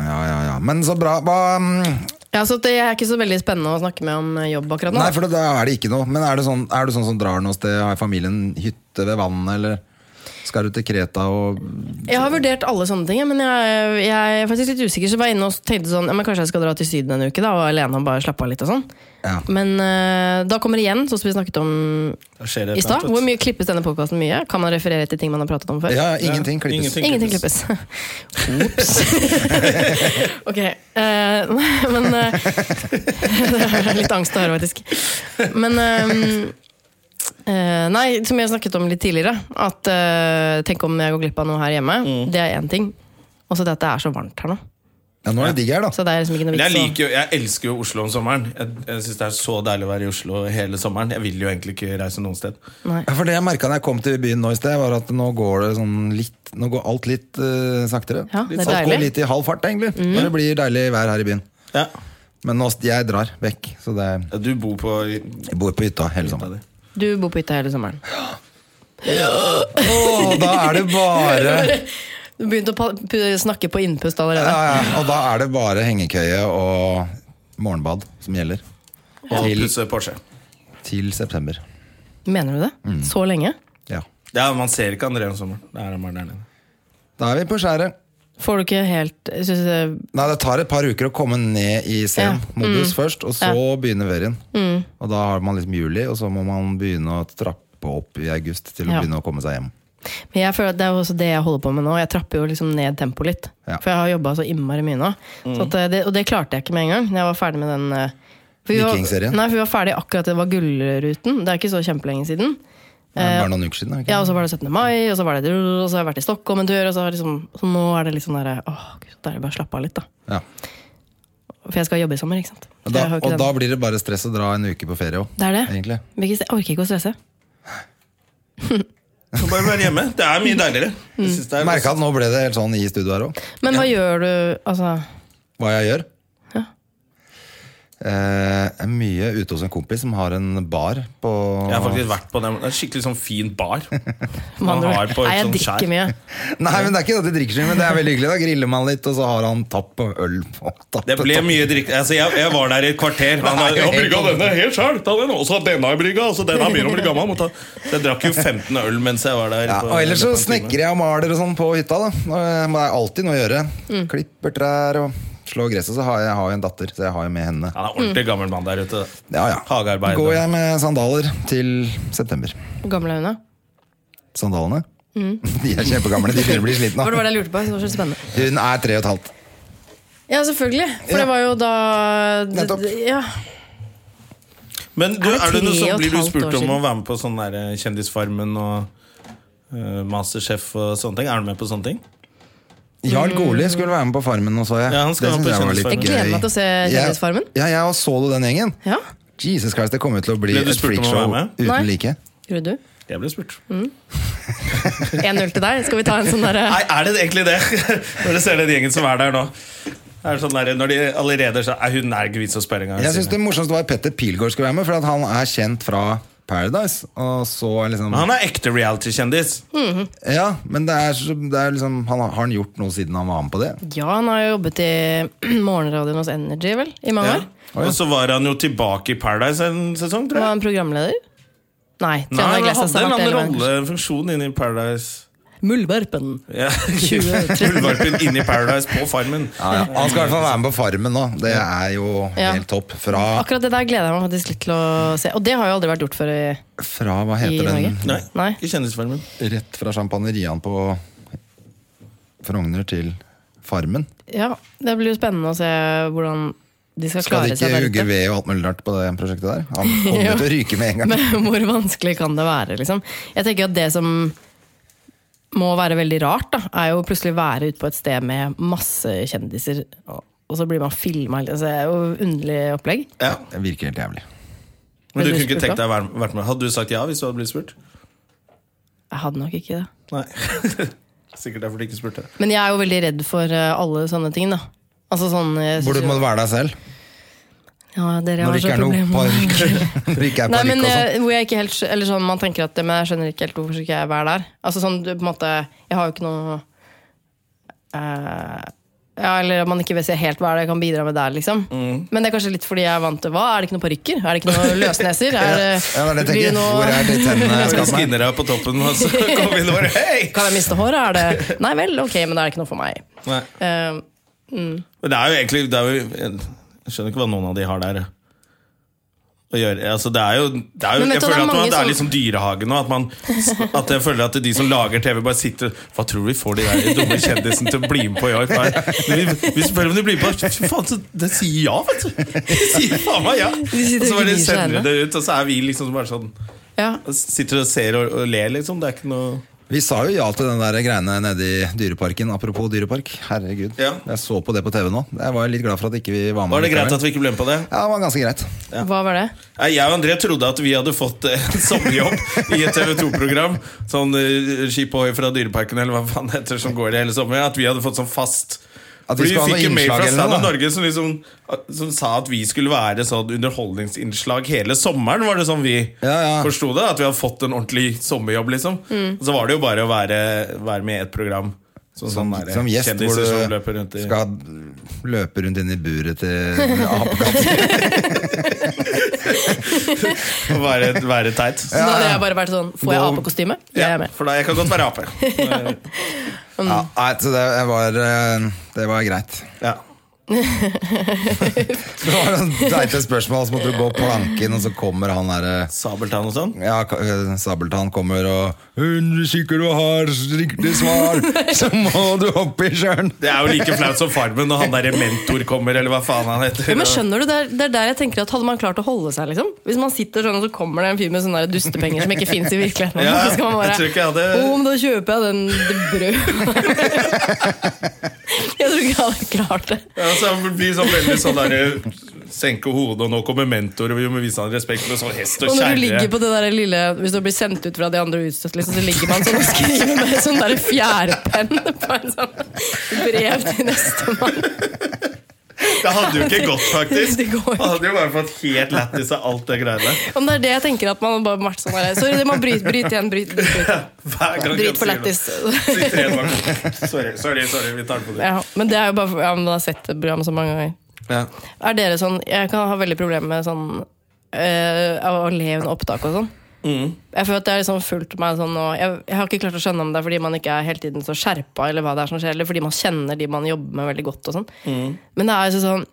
B: Ja, ja, ja. Men så bra. Hva, mm,
C: Ja, Ja, så det er ikke så veldig spennende å snakke med om eh, jobb akkurat nå.
B: Nei, for da er det ikke noe. Men er du sånn, er du sånn som drar noe sted? Har familien hytte ved vannet, eller skal du til Kreta og
C: Jeg har vurdert alle sånne ting, men jeg, jeg er faktisk litt usikker. Så jeg var inne og tenkte sånn, ja, men kanskje jeg skal dra til Syden en uke da, og alene og bare slappe av litt og sånn.
B: Ja.
C: Men eh, da kommer det igjen, sånn som vi snakket om
A: skjer det
C: i
A: et eller
C: stad.
A: annet.
C: Hvor mye klippes denne podkasten mye? Kan man referere til ting man har pratet om før?
B: Ja, ingenting klippes.
A: ingenting.
C: Ingenting klippes. Ops. ok. eh, men eh, det er Litt angst å høre, faktisk. Men eh, eh, Nei, som jeg snakket om litt tidligere, at eh, tenk om jeg går glipp av noe her hjemme.
A: Mm.
C: Det er én ting. Og så det at det er så varmt her nå.
B: Ja, nå er det digg her, da.
C: Så det er liksom ikke noe
A: Men jeg,
C: vits å-
A: liker jo, jeg elsker jo Oslo om sommeren. Jeg, jeg synes Det er så deilig å være i Oslo hele sommeren. Jeg vil jo egentlig ikke reise noen sted.
B: Ja, For det jeg merka da jeg kom til byen nå i sted, var at nå går det sånn litt Nå går alt litt eh, saktere.
C: Ja, det er
B: alt
C: deilig. Mm.
B: går litt i halv fart, egentlig. Men det blir deilig vær her i byen. Men nå, jeg drar vekk, så det er
A: Du bor på
B: Jeg bor på hytta hele sommeren.
C: Du bor på hytta hele sommeren.
B: Og da er det bare
C: Du begynte å pa- pu- snakke på innpust
B: ja,
C: allerede.
B: ja, Og da er det bare hengekøye og morgenbad som gjelder.
A: og
B: Til,
A: pusser Porsche.
B: til september.
C: Mener du det? Så lenge?
B: Ja.
A: Ja, Man ser ikke André om sommeren. Det er han bare der nede.
B: Da er vi på skjæret.
C: Får du ikke helt jeg synes det,
B: Nei, Det tar et par uker å komme ned i
C: Mm.
B: zen-modus først, og så begynner ferien. Og da har man liksom juli, og så må man begynne å trappe opp i august til å
C: Ja.
B: begynne å komme seg hjem.
C: Men jeg føler at Det er jo også det jeg holder på med nå. Jeg trapper jo liksom ned tempoet litt.
B: Ja. Mm.
C: For jeg har jobba så innmari mye nå. Så at eh, det, og det klarte jeg ikke med en gang. når Jeg var ferdig med den eh, for vi var-
B: Vikingserien?
C: Nei, for vi var ferdig akkurat det var Gullruten. Det er ikke så kjempelenge siden.
B: Det er bare noen uker siden. er det Ikke?
C: Eh, Ja, Og så var det 17. mai, og så, var det, og så har jeg vært i Stockholm en tur. Og så, har liksom, så nå er det litt sånn derre Åh, gud, så deilig. Bare slappe av litt, da.
B: Ja.
C: For jeg skal jobbe i sommer, ikke sant.
B: Og, da,
C: Jeg har jo ikke
B: og
C: den-
B: da blir det bare stress å dra en uke på ferie òg.
C: det er det.
B: Egentlig.
C: Ikke- Jeg orker ikke å stresse.
A: Du kan Bare være hjemme. Det er mye deiligere. Jeg synes det er
B: Merka at nå ble det helt sånn i studio her òg.
C: Men hva gjør du, altså?
B: Hva jeg gjør.
C: Ja.
B: Eh, jeg er mye ute hos en kompis som har en bar på
A: Jeg har faktisk vært på den. Det er en skikkelig sånn fin bar.
C: med andre
A: har
C: ord?
A: på et
C: Nei, jeg
A: sånt skjær.
C: drikker mye.
B: Nei, men Det er ikke det at de drikker så mye, men det er veldig hyggelig. Da griller man litt, og så har han tapp på øl. På, tapp,
A: Det ble
B: tapp.
A: mye drikke. Altså, jeg, jeg var der i et kvarter. Han har
B: Nei, helt
A: brygga denne helt sjøl! Ta den, og så denne i brygga, og så altså. den er mer og blir gammel. Må ta- Så jeg drakk jo 15 øl mens jeg var der.
B: Ja,
A: på-
B: og ellers så
A: på en time.
B: snekker jeg og maler og sånn på hytta. da Og, eh, men Det er alltid noe å gjøre.
C: Mm.
B: Klipper trær og slår gresset. Så har jeg, jeg har jo en datter, så jeg har jo med henne.
A: Han er ordentlig gammel mann der ute.
B: Ja, ja.
A: Hagearbeider.
B: Går jeg med sandaler til september.
C: Hvor gammel er hun, da?
B: Sandalene? De er kjempegamle. De begynner å bli slitne.
C: Mm. Var det
B: av.
C: bare det jeg lurte på? Jeg synes Det var så spennende.
B: Hun er tre og et halvt.
C: Ja, selvfølgelig. For det var jo da
B: Nettopp.
C: d- d- Ja.
A: Men du,
C: Er det
A: er det noe
C: tre
A: som
C: og et
A: blir du
C: halvt
A: spurt
C: år
A: om å
C: siden?
A: være med på sånn der eh, Kjendisfarmen og eh, Masterchef og sånne ting? Er du med på sånne ting?
B: Jarl Goli skulle være med på Farmen nå, så jeg.
A: Mm. Ja, han
B: Det
A: skal være med
B: synes
A: på
B: jeg var litt
A: Kjendisfarmen.
C: Jeg gleder
B: gøy.
C: meg til å se
B: Jeg-
C: Kjendisfarmen.
B: Ja, jeg og så du den gjengen?
C: ja.
B: Jesus Christ, det kommer til å bli
A: Ble du
B: et
A: spurt om å være
B: freakshow
A: med?
C: Nei.
B: uten like.
C: Gjorde du?
A: Jeg ble spurt.
C: 1-0 til deg. Skal vi ta en sånn derre
A: Mm. Nei, er det egentlig det? Når du ser den gjengen som er der nå. Er det sånn der, når de allerede så, er Hun er ikke vits å spørre engang.
B: Jeg synes det
A: sier
B: morsomste var at Petter Pilgaard skulle være med, for at han er kjent fra Paradise. Og så er liksom
A: hun. Han er ekte reality-kjendis.
B: Ja, men det er, så- det er liksom han, Har han gjort noe siden han var med på det?
C: Ja, han har jo jobbet i morgenradioen hos Energy, vel? I mange
A: Ja.
C: år.
A: Og så var han jo tilbake i Paradise en sesong, tror
C: Var
A: jeg.
C: han programleder? Nei.
A: Nei,
C: Trine
A: han
C: Iglesias
A: hadde
C: har
A: en
C: vært
A: annen
C: hele veien.
A: rolle, en funksjon inne i Paradise.
C: Muldvarpen.
A: Ja.
C: 20-30.
A: Muldvarpen inne i Paradise på Farmen.
B: Ja, ja. Han skal i hvert fall være med på Farmen nå. Det er jo
C: Ja.
B: helt topp. Fra,
C: Akkurat det der gleder jeg meg faktisk litt til å se. Og det har jo aldri vært gjort før i
B: fra hva
C: I
B: heter den?
C: Norge?
A: Nei,
C: Nei.
A: ikke Kjendisfarmen.
B: Rett fra Sjampanjerian på Frogner til Farmen.
C: Ja, det blir jo spennende å se hvordan de skal,
B: Skal de
C: klare seg
B: ikke
C: der
B: hugge
C: ute.
B: ved og alt mulig rart på det prosjektet der? Han kommer til å ryke med en gang.
C: Men hvor vanskelig kan det være, liksom? Jeg tenker at det som må være veldig rart, da, er jo plutselig å være ute på et sted med masse kjendiser, og og så blir man filma. Altså, det er jo underlig opplegg.
B: Det virker helt jævlig.
A: Men du
C: Ble du
A: kunne ikke
C: spurt
A: tenkt
C: da?
A: deg å være vært med? Hadde du sagt ja hvis du hadde blitt spurt?
C: Jeg hadde nok ikke det.
A: Nei. Sikkert derfor du ikke spurte.
C: Men jeg er jo veldig redd for eh, alle sånne ting, da. Altså sånn jeg synes
B: Hvor du må
C: jo-
B: være deg selv
C: Ja,
B: når
C: dere har
B: det ikke
C: så
B: er noe
C: problemer.
B: parykk. Når det ikke er
C: Nei,
B: parykk
C: men
B: og sånn.
C: eh, hvor jeg ikke helt, skj- eller sånn, Man tenker at eh, men jeg skjønner ikke helt hvorfor skal ikke jeg være der. Altså sånn, du, på en måte, Jeg har jo ikke noe eh, ja, eller at man ikke vet helt hva er det jeg kan bidra med der. liksom.
B: Mm.
C: Men det er kanskje litt fordi jeg er vant til hva? Er det ikke noen parykker? Er det ikke noen løsneser? Er det,
B: Ja, det er det jeg
C: blir det
B: tenker.
C: noe-
B: Hvor er de tennene? jeg
A: Skal
B: skal ha meg?
A: skinne deg på toppen, og så kommer vi inn og bare hei!
C: Kan jeg miste håret? Er det Nei vel, ok, men da er det ikke noe for meg.
A: Nei.
C: Eh,
A: Men det er jo egentlig det er jo, Jeg skjønner ikke hva noen av de har der. Å gjøre, altså det er jo, det er jo Jeg
C: Men vet du, det
A: føler
C: er
A: at man,
C: mange
A: det er
C: som-
A: liksom dyrehage nå. At, man, at jeg føler at de som lager TV, bare sitter Hva tror du vi får de der dumme kjendisene til å bli med på i år? Vi, vi spør om de blir med på Fy faen, så det sier ja, vet du! De sier faen meg ja! Og
C: sitter
A: så
C: og
A: bare
C: gnir seg i
A: sender
C: hendene.
A: de det ut, og så er vi liksom bare sånn
C: ja.
A: Sitter og ser og, og ler, liksom. Det er ikke noe
B: Vi sa jo ja til den der greiene nede i dyreparken. Apropos dyrepark. Herregud.
A: Ja.
B: Jeg så på det på TV nå. Jeg var litt glad for at ikke vi var med.
A: Var det greit at vi ikke ble med på det?
B: Ja, det var ganske greit.
C: Hva var det?
A: Nei, Jeg og André trodde at vi hadde fått eh, en sommerjobb i et TV2-program. Sånn eh, Skip Ohoi fra Dyreparken eller hva faen det heter som går i hele sommeren. At vi hadde fått sånn fast
B: At vi
A: Fordi vi
B: skulle ha
A: fikk
B: noe
A: en mail
B: innslag
A: fra
B: eller
A: Stand
B: noe,
A: Up
B: da.
A: Norge som, liksom, at- som sa at vi skulle være sånn underholdningsinnslag hele sommeren. Var det sånn vi
B: Ja, ja.
A: forsto det? At vi hadde fått en ordentlig sommerjobb, liksom.
C: Mm.
A: Og så var det jo bare å være, være med i et program. Sånn,
B: Som,
A: sånn der,
B: som gjest hvor
A: kjendiser som løper
B: du
A: rundt i
B: skal løpe rundt inn i buret til apekatten.
A: og være, være teit.
C: Så da hadde jeg bare vært sånn Får jeg apekostyme? Jeg er med.
A: for da, jeg kan godt være ape.
B: Ja, nei, så det var, eh, det var greit.
A: Ja.
B: Det var noen teite spørsmål, så måtte du gå planken, og så kommer han derre
A: Sabeltann og sånn.
B: ja, Ka- eh, Sabeltann kommer og 'Hun sikker du har riktig svar, så må du opp i sjøen'.
A: Det er jo like flaut som Farmen når han der mentor kommer, eller hva faen han heter.
C: Ja, men skjønner du, det er, det er der jeg tenker at Hadde man klart å holde seg, liksom? Hvis man sitter sånn, og så kommer det en fyr med sånne der dustepenger som ikke fins i virkeligheten.
A: Ja,
C: så skal man bare
A: jeg tror ikke jeg hadde-
C: «Å, men da kjøper jeg den det brød. jeg tror ikke jeg hadde klart det.
A: Ja, så han blir sånn veldig sånn derre Senke hodet, og nå kommer mentor, og vi må vise han respekt med sånn hest og
C: Og når du ligger
A: kjerre.
C: på det der lille Hvis du blir sendt ut fra de andre utstøtte, liksom, så ligger man sånn og skriver med sånn der fjærpenn på en sånn brev til nestemann.
A: Det hadde jo ikke gått, faktisk.
C: Det går ikke.
A: Han hadde jo bare fått helt lættis av alt det greiene.
C: Om det er det jeg tenker at man bare har vært sånn der, Sorry, det må bryte, bryte igjen, bryte, bryte.
A: Hver gang
C: Drit for
A: han sier
C: lættis.
A: noe. Sitter helt bak. Sorry, sorry, sorry, vi tar det på det.
C: Ja, men det er jo bare for, ja, men man har sett det programmet så mange ganger.
A: Ja.
C: Er dere sånn, Jeg kan ha veldig problemer med sånn eh, av å le under opptak og sånn.
A: Mm.
C: Jeg føler at det har liksom fulgt meg sånn og jeg, jeg har ikke klart å skjønne om det er fordi man ikke er hele tiden så skjerpa, eller hva det er som skjer, eller fordi man kjenner de man jobber med veldig godt. og sånn
A: Mm.
C: Men det er altså sånn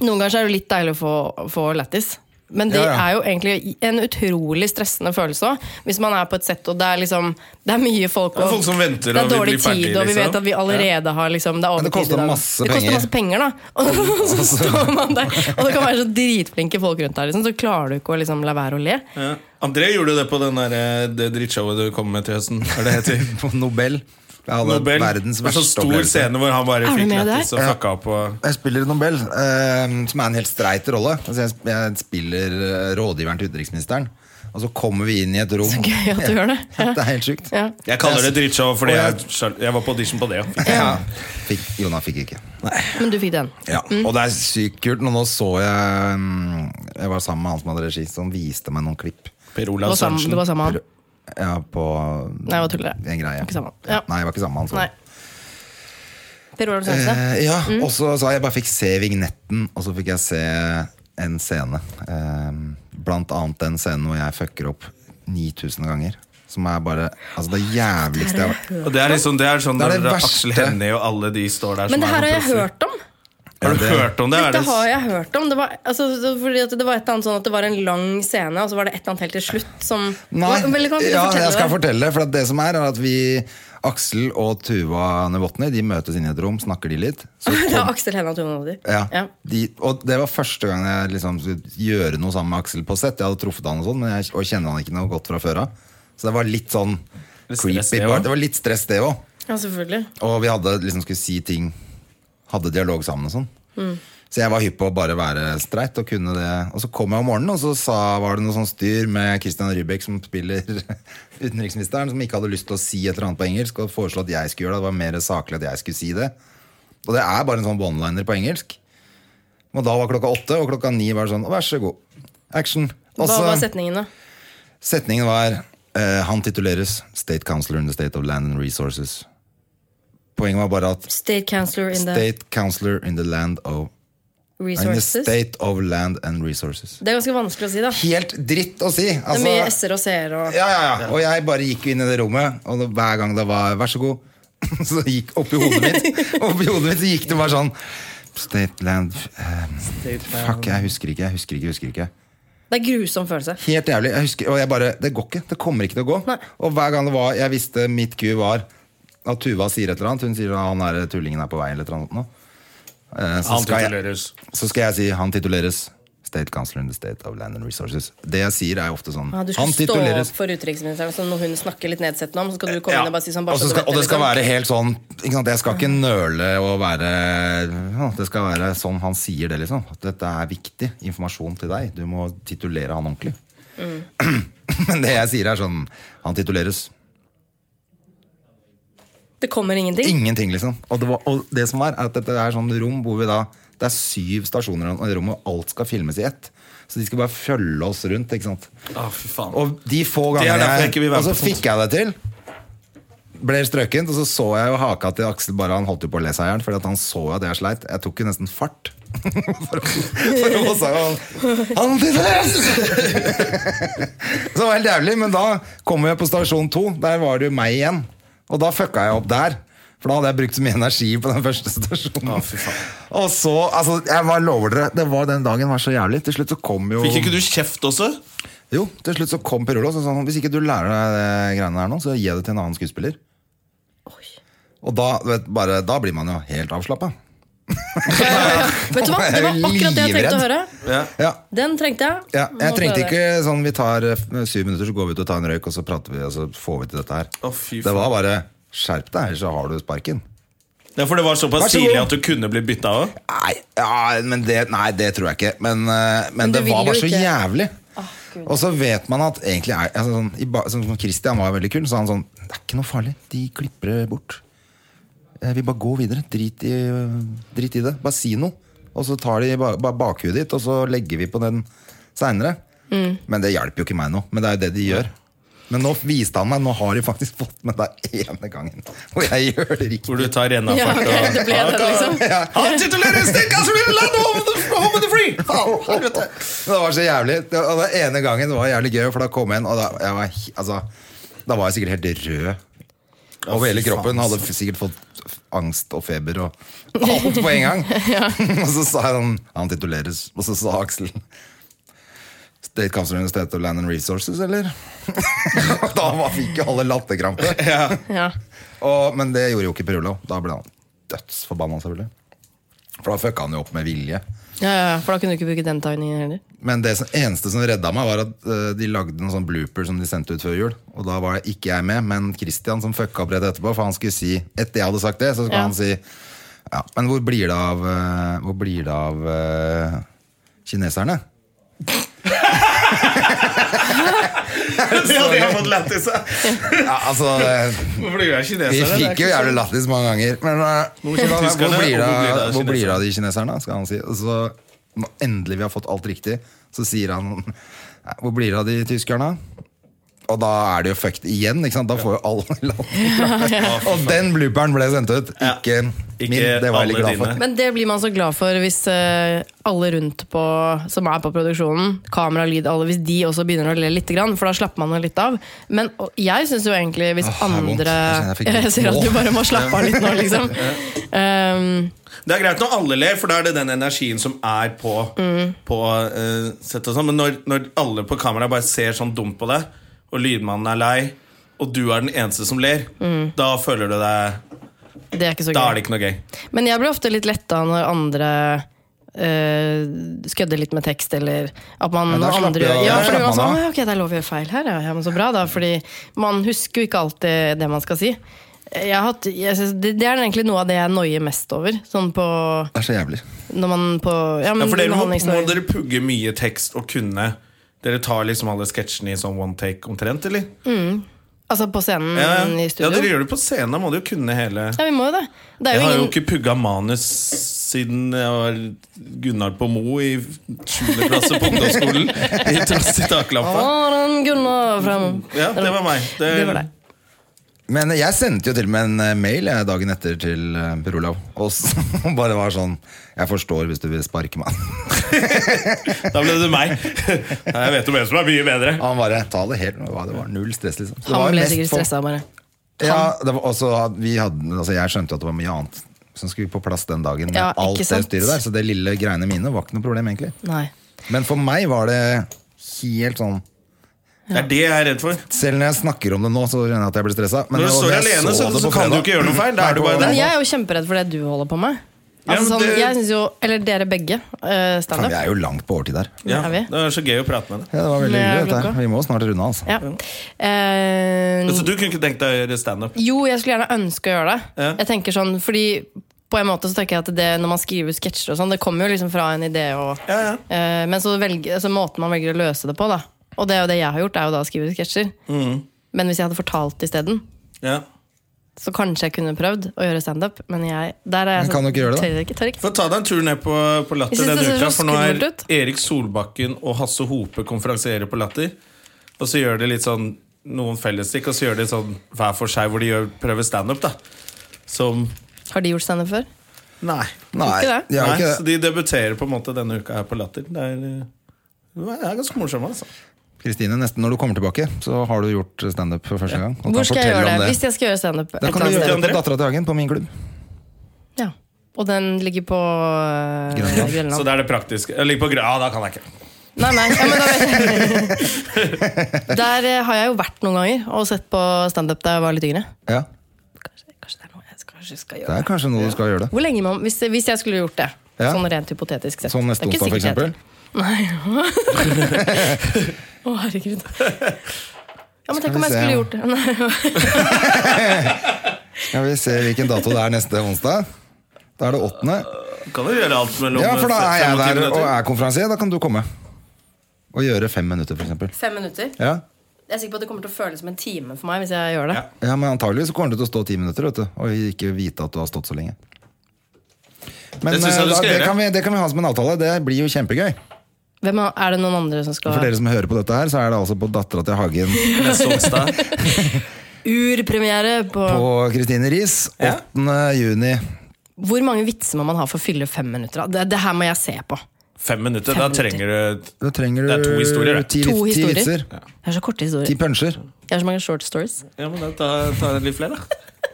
C: noen ganger så er det litt deilig å få, få lættis. Men det
B: Ja, ja.
C: er jo egentlig en utrolig stressende følelse òg. Hvis man er på et sett og det er liksom Det er mye folk,
A: Det er
C: og
A: folk som venter, og
C: det er
A: vi
C: dårlig
A: blir
C: tid,
A: ferdig,
C: og vi
A: liksom.
C: vet at vi allerede har liksom, Det er
B: Men det
C: overtid
B: koster
C: i dag.
B: masse
C: det koster
B: penger.
C: masse penger, da. Og så står man der, og det kan være så dritflinke folk rundt deg, liksom, så klarer du ikke å liksom la være å le.
A: Ja. André gjorde det på den der, eh, det drittshowet du kom med til høsten. Hva er det heter?
B: På Nobel. Jeg hadde
A: Nobel.
B: verdens
A: Det var
B: verste
A: sånn stor
B: opplevelse.
A: scene hvor han bare
C: Er du
A: fikk
C: med
A: lættis
C: der?
A: og
B: Ja.
A: fucka opp. og...
B: Jeg spiller i Nobel, eh, som er en helt streit rolle. Altså jeg, sp- jeg spiller eh, rådgiveren til utenriksministeren. Og så kommer vi inn i et rom.
C: Så gøy at du gjør det. Ja.
B: det er helt sjukt.
C: Ja.
A: Jeg kaller det drittshow fordi
B: Og
A: jeg,
B: jeg-
A: jeg var på audition på det. ja.
B: Ja. Fikk, Jonah fikk ikke.
C: Men du fikk den.
B: Ja. Og det er sykt kult. Nå, nå så jeg mm, Jeg var sammen med han som hadde regi, som viste meg noen klipp.
A: Per
C: Du
A: Olav
C: var sammen,
A: Sørensen.
C: du var sammen med han.
B: Ja, på
C: Nei, jeg bare tuller.
B: en greie.
C: Ikke sammen. Ja.
B: Nei, jeg var ikke sammen med han. så.
C: Nei. Mm. Per Olav Sørensen.
B: Eh, ja, og så sa jeg jeg bare fikk se vignetten, og så fikk jeg se en scene. Eh, blant annet den scenen hvor jeg fucker opp 9000 ganger. Som er bare Altså, det jævligste jeg har
A: Og det er liksom det er sånn
B: Det er det
A: når
B: verste.
A: Aksel Hennie og alle de står der
C: Men
A: som
C: det her har
A: er
C: jeg
A: sånn
C: hørt om.
A: proffer. Har du hørt om det? Er
C: Dette
A: det
C: har jeg hørt om. Det var, altså, så- fordi at det var et eller annet sånn at det var en lang scene, og så var det et eller annet helt til slutt som Hva- vel, kan du
B: ja, jeg skal
C: det?
B: fortelle det. For at det som er, er at vi Aksel og Tuva Nevotny De møtes inne i et rom, snakker de litt. Så
C: Det var Aksel Hennie og Tone Noddi.
B: Ja.
C: Ja.
B: De, og det var første gang jeg liksom skulle gjøre noe sammen med Aksel på sett. Jeg hadde truffet han og sånn, men jeg og kjenner han ikke noe godt fra før av. Så det var litt sånn
A: Litt stress,
B: creepy.
A: det
B: bare.
A: også.
B: Det var litt stress, det òg.
C: ja, selvfølgelig.
B: Og vi hadde liksom skulle si ting Hadde dialog sammen og sånn. Så jeg var hypp på å bare være streit og kunne det. Og så kom jeg om morgenen, og så sa, var det noe sånn styr med Christian Rybek, som spiller utenriksministeren, som ikke hadde lyst til å si et eller annet på engelsk, og foreslo at jeg skulle gjøre det. Det var mer saklig at jeg skulle si det. Og det er bare en sånn one-liner på engelsk. Og da var klokka åtte, og klokka ni var det sånn Vær så god. Action. Og
C: Hva
B: så-
C: var setningen, da?
B: Setningen var eh, Han tituleres State Counselor in the State of Land and Resources Poenget var bare at
C: State counselor in the
B: State counselor in the land of In the
C: resources.
B: state of land and resources.
C: Det er ganske vanskelig å si, da.
B: Helt dritt å si!
C: Det er
B: Altså,
C: mye s-er og c-er og
B: ja, ja, ja. Og jeg bare gikk inn i det rommet, og det- hver gang det var 'vær så god', så gikk oppi hodet mitt Oppi hodet mitt så gikk det bare sånn State land eh, Fuck, jeg husker ikke, jeg husker ikke, jeg husker ikke.
C: Det er grusom følelse.
B: Helt jævlig. Jeg husker, og jeg bare Det går ikke. Det kommer ikke til å gå. Og hver gang det var Jeg visste mitt ku var at Tuva sier et eller annet. Hun sier at han er tullingen er på vei eller et eller annet. nå. Eh, så
A: Han
B: skal jeg-
A: tituleres.
B: så skal jeg si han tituleres State Counselor in the State of Land and Resources. Det jeg sier, er ofte sånn.
C: Ja, du
B: han
C: skal stå
B: tituleres
C: opp for utenriksministeren så når hun snakker litt nedsettende om, så skal du komme
A: Ja.
C: inn og bare si sånn
B: og,
C: bare
B: så
C: så du
B: skal,
C: vet
B: og det skal
C: liksom.
B: være helt sånn ikke sant? Jeg skal ikke nøle og være ja, Det skal være sånn han sier det, liksom. At dette er viktig informasjon til deg. Du må titulere han ordentlig.
C: Mm.
B: Men det jeg sier, er sånn Han tituleres.
C: Det kommer ingenting.
B: Ingenting, liksom. Og det, var, og det som er, er at dette er sånn rom hvor vi da Det er syv stasjoner i rommet, og alt skal filmes i ett. Så de skal bare følge oss rundt. ikke sant?
A: Å, Ah, fy faen.
B: Og de få
A: Det er
B: gangene
A: derfor jeg ikke vil
B: jeg
A: være
B: Og så
A: på sånt.
B: fikk jeg det til. Ble strøkent, og så så jeg jo haka til Aksel bare han holdt jo på å le seg i hjel, fordi at han så jo at jeg sleit. Jeg tok jo nesten fart. for for nå sa jo han Han tituleres! så det var helt jævlig, men da kom jeg på stasjon to. Der var det jo meg igjen. Og da fucka jeg opp der. For da hadde jeg brukt så mye energi på den første stasjonen.
A: Å, fy faen.
B: og så, altså, jeg bare lover dere, det var den dagen var så jævlig. Til slutt så kom jo
A: Fikk ikke du kjeft også?
B: jo, til slutt så kom Pirulo og så sa han, hvis ikke du lærer deg det greiene her nå, så gi det til en annen skuespiller. Og da, du vet, bare, da blir man jo helt avslappa.
C: Vet du hva? Det var akkurat det jeg trengte å høre.
B: Ja,
C: Den trengte jeg.
B: ja,
C: Nå
B: jeg
C: får
B: trengte
C: det.
B: ikke sånn vi tar eh, syv minutter, så går vi ut og tar en røyk, og så prater vi, og så får vi til dette her.
A: Å, fy
B: det
A: faen.
B: var bare skjerp deg, ellers så har du sparken.
A: Ja, for det var såpass
B: Vær så
A: tidlig
B: god.
A: at du kunne bli bytta òg?
B: Nei, ja, men det, nei, det tror jeg ikke. Men, eh, men,
C: du
B: det var
C: vil jo
B: bare så
C: ikke. Ah,
B: jævlig. og så vet man at egentlig er altså, sånn, i, ba- sånn, som Christian var veldig kul, så sa han sånn Det er ikke noe farlig. De klipper det bort. Eh, Vi bare går videre. Drit i, drit i det. Bare si noe. Og så tar de ba, ba, bakhuet ditt, og så legger vi på den seinere.
C: Mm.
B: Men det hjelper jo ikke meg nå. Men det er jo det de gjør. Men nå viste han meg, nå har de faktisk fått med det ene gangen. Og jeg gjør det riktig.
A: Hvor du tar renna
C: Ja,
A: fart
C: ok, det ble det, liksom.
B: Ah,
A: Han titulerer Stikk
B: altså,
A: Asrin Land home the, home of the free!
B: Au, helvete. Men Det var så jævlig. Det- Og den ene gangen var jævlig gøy, for da kom jeg inn, og da, jeg var, he- altså, da var jeg sikkert helt rød over hele kroppen. Hadde f- sikkert fått f- angst og feber og alt på en gang. og så sa jeg sånn Han tituleres, og så sa Aksel State Council of the State of Land and Resources, eller? Og da var- fikk jo alle latterkrampe.
C: Ja.
B: Og- Men det gjorde jo ikke Perullo. Da ble han dødsforbanna, selvfølgelig. For da fucka han jo opp med vilje.
C: Ja, ja, for da kunne du ikke bruke den tagningen heller.
B: Men det som, eneste som redda meg, var at eh, de lagde en sånn blooper som de sendte ut før jul. Og da var jeg ikke jeg med, men Christian som fucka opp rett etterpå. For han skulle si, etter jeg hadde sagt det, så skulle
C: Ja.
B: han si Ja, men hvor blir det av eh, Hvor blir det av eh, kineserne?
A: Det hadde jeg fått lættis av.
B: Ja, altså eh,
A: Hvorfor blir jeg
B: Vi
A: kineser?
B: fikk jo jævlig lættis mange ganger. Men eh, så
A: Hvor blir
B: da, hvor,
A: tyskerne,
B: blir det,
A: og hvor blir det
B: av-
A: av
B: hvor blir det av de kineserne, skal han si. Og så, når endelig vi har fått alt riktig, så sier han "Nei, Hvor blir det av de tyskerne? Og da er det jo fucked igjen. Ikke sant? Da får jo alle land Og den blooperen ble sendt ut. Ikke min.
A: Ikke
B: Det var jeg litt
A: alle
B: glad for.
A: dine.
C: Men det blir man så glad for hvis eh, alle rundt på, som er på produksjonen, kamera, lyd, alle, hvis de også begynner å le litt, grann, for da slapper man litt av. Men og, jeg syns jo egentlig hvis
B: Åh, det er vondt.
C: andre
B: Jeg kjenner jeg fikk
C: Jeg
B: vondt
C: ser at
B: nå.
C: du bare må slappe av litt nå, liksom. Um,
A: Det er greit når alle ler, for da er det den energien som er på, på eh, sett og sånn. Men når, når alle på kamera bare ser sånn dumt på deg, og lydmannen er lei, og du er den eneste som ler, da føler du deg
C: det er ikke så
A: Da er
C: gøy.
A: det ikke noe gøy.
C: Men jeg blir ofte litt letta når andre eh, skødder litt med tekst, eller at man
B: Ja, da
C: når
B: slapper
C: andre
B: jeg av.
C: gjør Ja,
B: Da
C: for det
B: slapper
C: var sånn,
B: man av.
C: «Å, ok, det er lov å gjøre feil her, ja. ja. Men så bra, da. Fordi man husker jo ikke alltid det man skal si. Jeg har hatt, jeg synes, det, det er egentlig noe av det jeg noier mest over. Sånn på
B: Det er så jævlig.
C: Når man på Ja, men
A: Ja, for dere må, må
C: behandlingsnormer.
A: dere pugge mye tekst og kunne Dere tar liksom alle sketsjene i sånn one take omtrent, eller?
C: Altså på scenen
A: Ja,
C: i
A: ja,
C: studio.
A: dere gjør det på scenen. Da må dere jo kunne hele
C: Ja, vi må jo det. Det er
A: Jeg
C: jo
A: har jo
C: ingen
A: ikke pugga manus siden jeg var Gunnar på Mo i 7. klasse på ungdomsskolen. I trass i taklampa.
C: Aron Gunnar fram.
A: Ja, det var meg. Det,
C: Det var deg.
B: Men jeg sendte jo til og med en eh, mail jeg, dagen etter til eh, Per Olav. Og s- og bare var sånn Jeg forstår hvis du vil sparke meg.
A: Da ble det meg. Nei, Jeg vet om en som er mye bedre.
B: Han bare ta det helt med hva det var. Null stress, liksom. Så det var
C: Han
B: jo
C: ble
B: mest
C: sikkert
B: folk-
C: stressa, bare.
B: Ja, det var også, at vi hadde, altså jeg skjønte at det var mye annet som skulle på plass den dagen. med
C: Ja, ikke
B: alt det
C: sant?
B: styret der, Så det lille greiene mine var ikke noe problem, egentlig.
C: Nei.
B: Men for meg var det helt sånn
A: Det er det jeg er redd for.
B: Selv når jeg snakker om det nå, så kjenner jeg at jeg blir stressa. Men
A: Når du
B: det-
A: står
B: når jeg
A: alene, så,
B: det
A: så
B: på
A: kan du
B: fredag-
A: ikke gjøre noe feil. Da
B: Nei,
A: er du
B: på-
A: bare
C: Men
A: der.
C: jeg er jo kjemperedd for det du holder på med.
A: Ja,
C: Altså,
A: men
C: sånn,
A: det-
C: jeg synes jo, eller dere begge, eh,
B: Faen,
C: standup.
B: vi er jo langt på overtid her.
A: Ja,
C: Er vi?
A: det er så gøy å prate med deg.
B: Ja, det var veldig
C: Med
B: hyggelig. dette her.
C: klokka.
B: Vi må snart runde, altså.
C: Ja. Eh,
A: Så du kunne ikke tenkt deg å gjøre standup?
C: jo, jeg skulle gjerne ønske å gjøre det.
A: Ja.
C: Jeg tenker sånn, fordi på en måte så tenker jeg at det når man skriver sketsjer og sånn, det kommer jo liksom fra en idé og
A: Ja, ja.
C: Eh, Men så velge, altså måten man velger å løse det på, da. Og det er jo det jeg har gjort, er jo da å skrive sketsjer.
B: Mm.
C: Men hvis jeg hadde fortalt isteden,
A: ja.
C: så kanskje jeg kunne prøvd å gjøre standup. Men jeg, der er
B: Men
C: jeg
B: kan
C: sånn,
B: du ikke gjøre det, da?
C: tør ikke, tør ikke.
A: Få ta deg en tur ned på, på Latter
C: Jeg synes
A: denne
C: det ser
A: uka,
C: så
A: for nå er
C: skummelt ut.
A: Erik Solbakken og Hasse Hope konferansierer på Latter. Og så gjør de litt sånn noen fellesstikk, og så gjør de sånn hver for seg, hvor de gjør, prøver standup, da. Som
C: Har de gjort standup før?
A: Nei.
B: Nei,
C: Ikke det?
B: jeg har
A: Nei,
B: ikke
A: så
B: det.
A: de debuterer på en måte denne uka her på Latter. Det er, det er ganske morsomt, altså.
B: Kristine, nesten når du kommer tilbake, så har du gjort standup for første gang. og kan
C: Hvor skal jeg
B: fortelle
C: gjøre
B: om
C: det? Hvis jeg skal gjøre standup et
B: Da
C: eller
B: kan du
C: annet
B: gjøre
C: sted.
B: det på Dattera til Hagen, på min klubb.
C: Ja. Og den ligger på øh,
B: Grønland.
A: Så
C: Grønland.
A: det er det praktiske. Jeg ligger på grø- Ja, da kan jeg ikke.
C: Nei, nei. Ja, men da vet jeg. Der eh, har jeg jo vært noen ganger og sett på standup da jeg var litt yngre.
B: Ja,
C: Kanskje, kanskje det er noe jeg skal, kanskje skal
B: Det
C: gjøre.
B: er kanskje noe du skal gjøre. det
C: Hvor lenge man, hvis, hvis jeg skulle gjort det,
B: Ja.
C: sånn rent hypotetisk sett
B: Sånn neste
C: Det er ikke
B: onsdag, for
C: sikkert jeg-
B: eksempel.
C: Å, herregud. Ja,
B: Skal
C: men tenk
B: vi
C: om jeg
B: se.
C: skulle gjort det. Nei,
B: Skal vi se hvilken dato det er neste onsdag? Da er det åttende.
A: Kan jo gjøre alt mellom
B: Ja, for da er jeg
A: 25
B: der og
A: minutter.
B: er konferansier. Da kan du komme. Og gjøre fem minutter, f.eks.
C: Fem minutter.
B: Ja.
C: Jeg er sikker på at det kommer til å føles som en time for meg hvis jeg gjør det.
A: Ja.
B: ja, men antagelig så kommer du til å stå ti minutter vet du, og ikke vite at du har stått så lenge. Men
A: Det synes jeg
B: eh,
A: du
B: da,
A: skal
B: det,
A: gjøre.
B: kan vi, det kan vi ha som en avtale. Det blir jo kjempegøy.
C: Hvem er, er det noen andre som skal
B: For dere som hører på dette her, så er det altså på Dattera til Hagen
A: Neste onsdag.
C: Urpremiere på,
B: på Kristine Riis. 8. juni.
C: Hvor mange vitser må man ha for å fylle fem minutter? da? Det, det her må jeg se på.
A: Fem minutter. Da trenger du
B: Da trenger
A: Det er
B: du
A: to historier, det.
B: ti,
C: To
B: vits- ti
C: historier.
B: vitser.
C: Jeg har så korte
B: Ti
C: historier.
B: puncher.
C: Jeg har så mange short stories.
A: Ja, men da tar ta litt flere, da.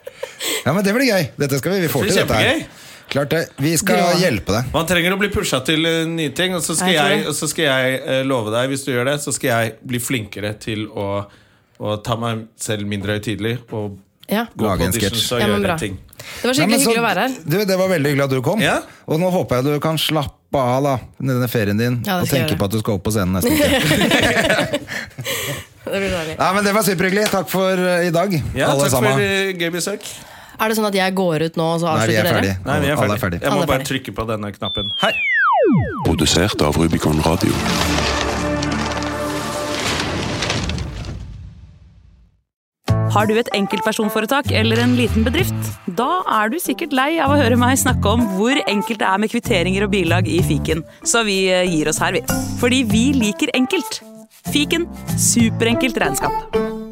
B: Ja, men det blir gøy. Dette skal vi, vi får
A: Det
B: til
A: blir
B: dette her.
A: kjempegøy.
B: Klart det. Vi skal
C: Bra.
B: hjelpe deg.
A: Man trenger å bli pusha til eh, nye ting, og så skal
C: Jeg tror
A: jeg,
C: det.
A: og så skal jeg eh, love deg, hvis du gjør det, så skal jeg bli flinkere til å, å ta meg selv mindre høytidelig og
C: Ja.
A: gå
B: Lage
A: på
B: en sketsj.
A: auditions og
C: Ja, men bra.
A: gjøre ting.
C: Det
B: Nei,
C: var skikkelig
B: men så-
C: hyggelig å være her.
B: Du, det var veldig hyggelig at du kom.
A: Ja.
B: Og nå håper jeg du kan slappe av da denne ferien din
C: Ja, det
B: og
C: skal jeg
B: tenke
C: gjøre.
B: på at du skal opp på scenen neste uke.
C: Det blir deilig.
B: Nei, men Det var superhyggelig. Takk for eh, i dag,
A: Ja,
B: alle
A: takk
B: sammen.
A: for eh, gøy besøk.
C: Er det sånn at jeg går ut nå, og så
B: Nei, vi er
C: avslutter dere?
B: ferdige.
A: Nei, vi er
B: Alle er
A: ferdig.
B: ferdige.
A: Jeg må
C: Alle er
A: bare
C: ferdig.
A: trykke på denne knappen her.
E: Produsert av Rubicon Radio.
F: Har du et enkeltpersonforetak eller en liten bedrift? Da er du sikkert lei av å høre meg snakke om hvor enkelt det er med kvitteringer og bilag i fiken, så vi eh, gir oss her, vi. Fordi vi liker enkelt. Fiken superenkelt regnskap.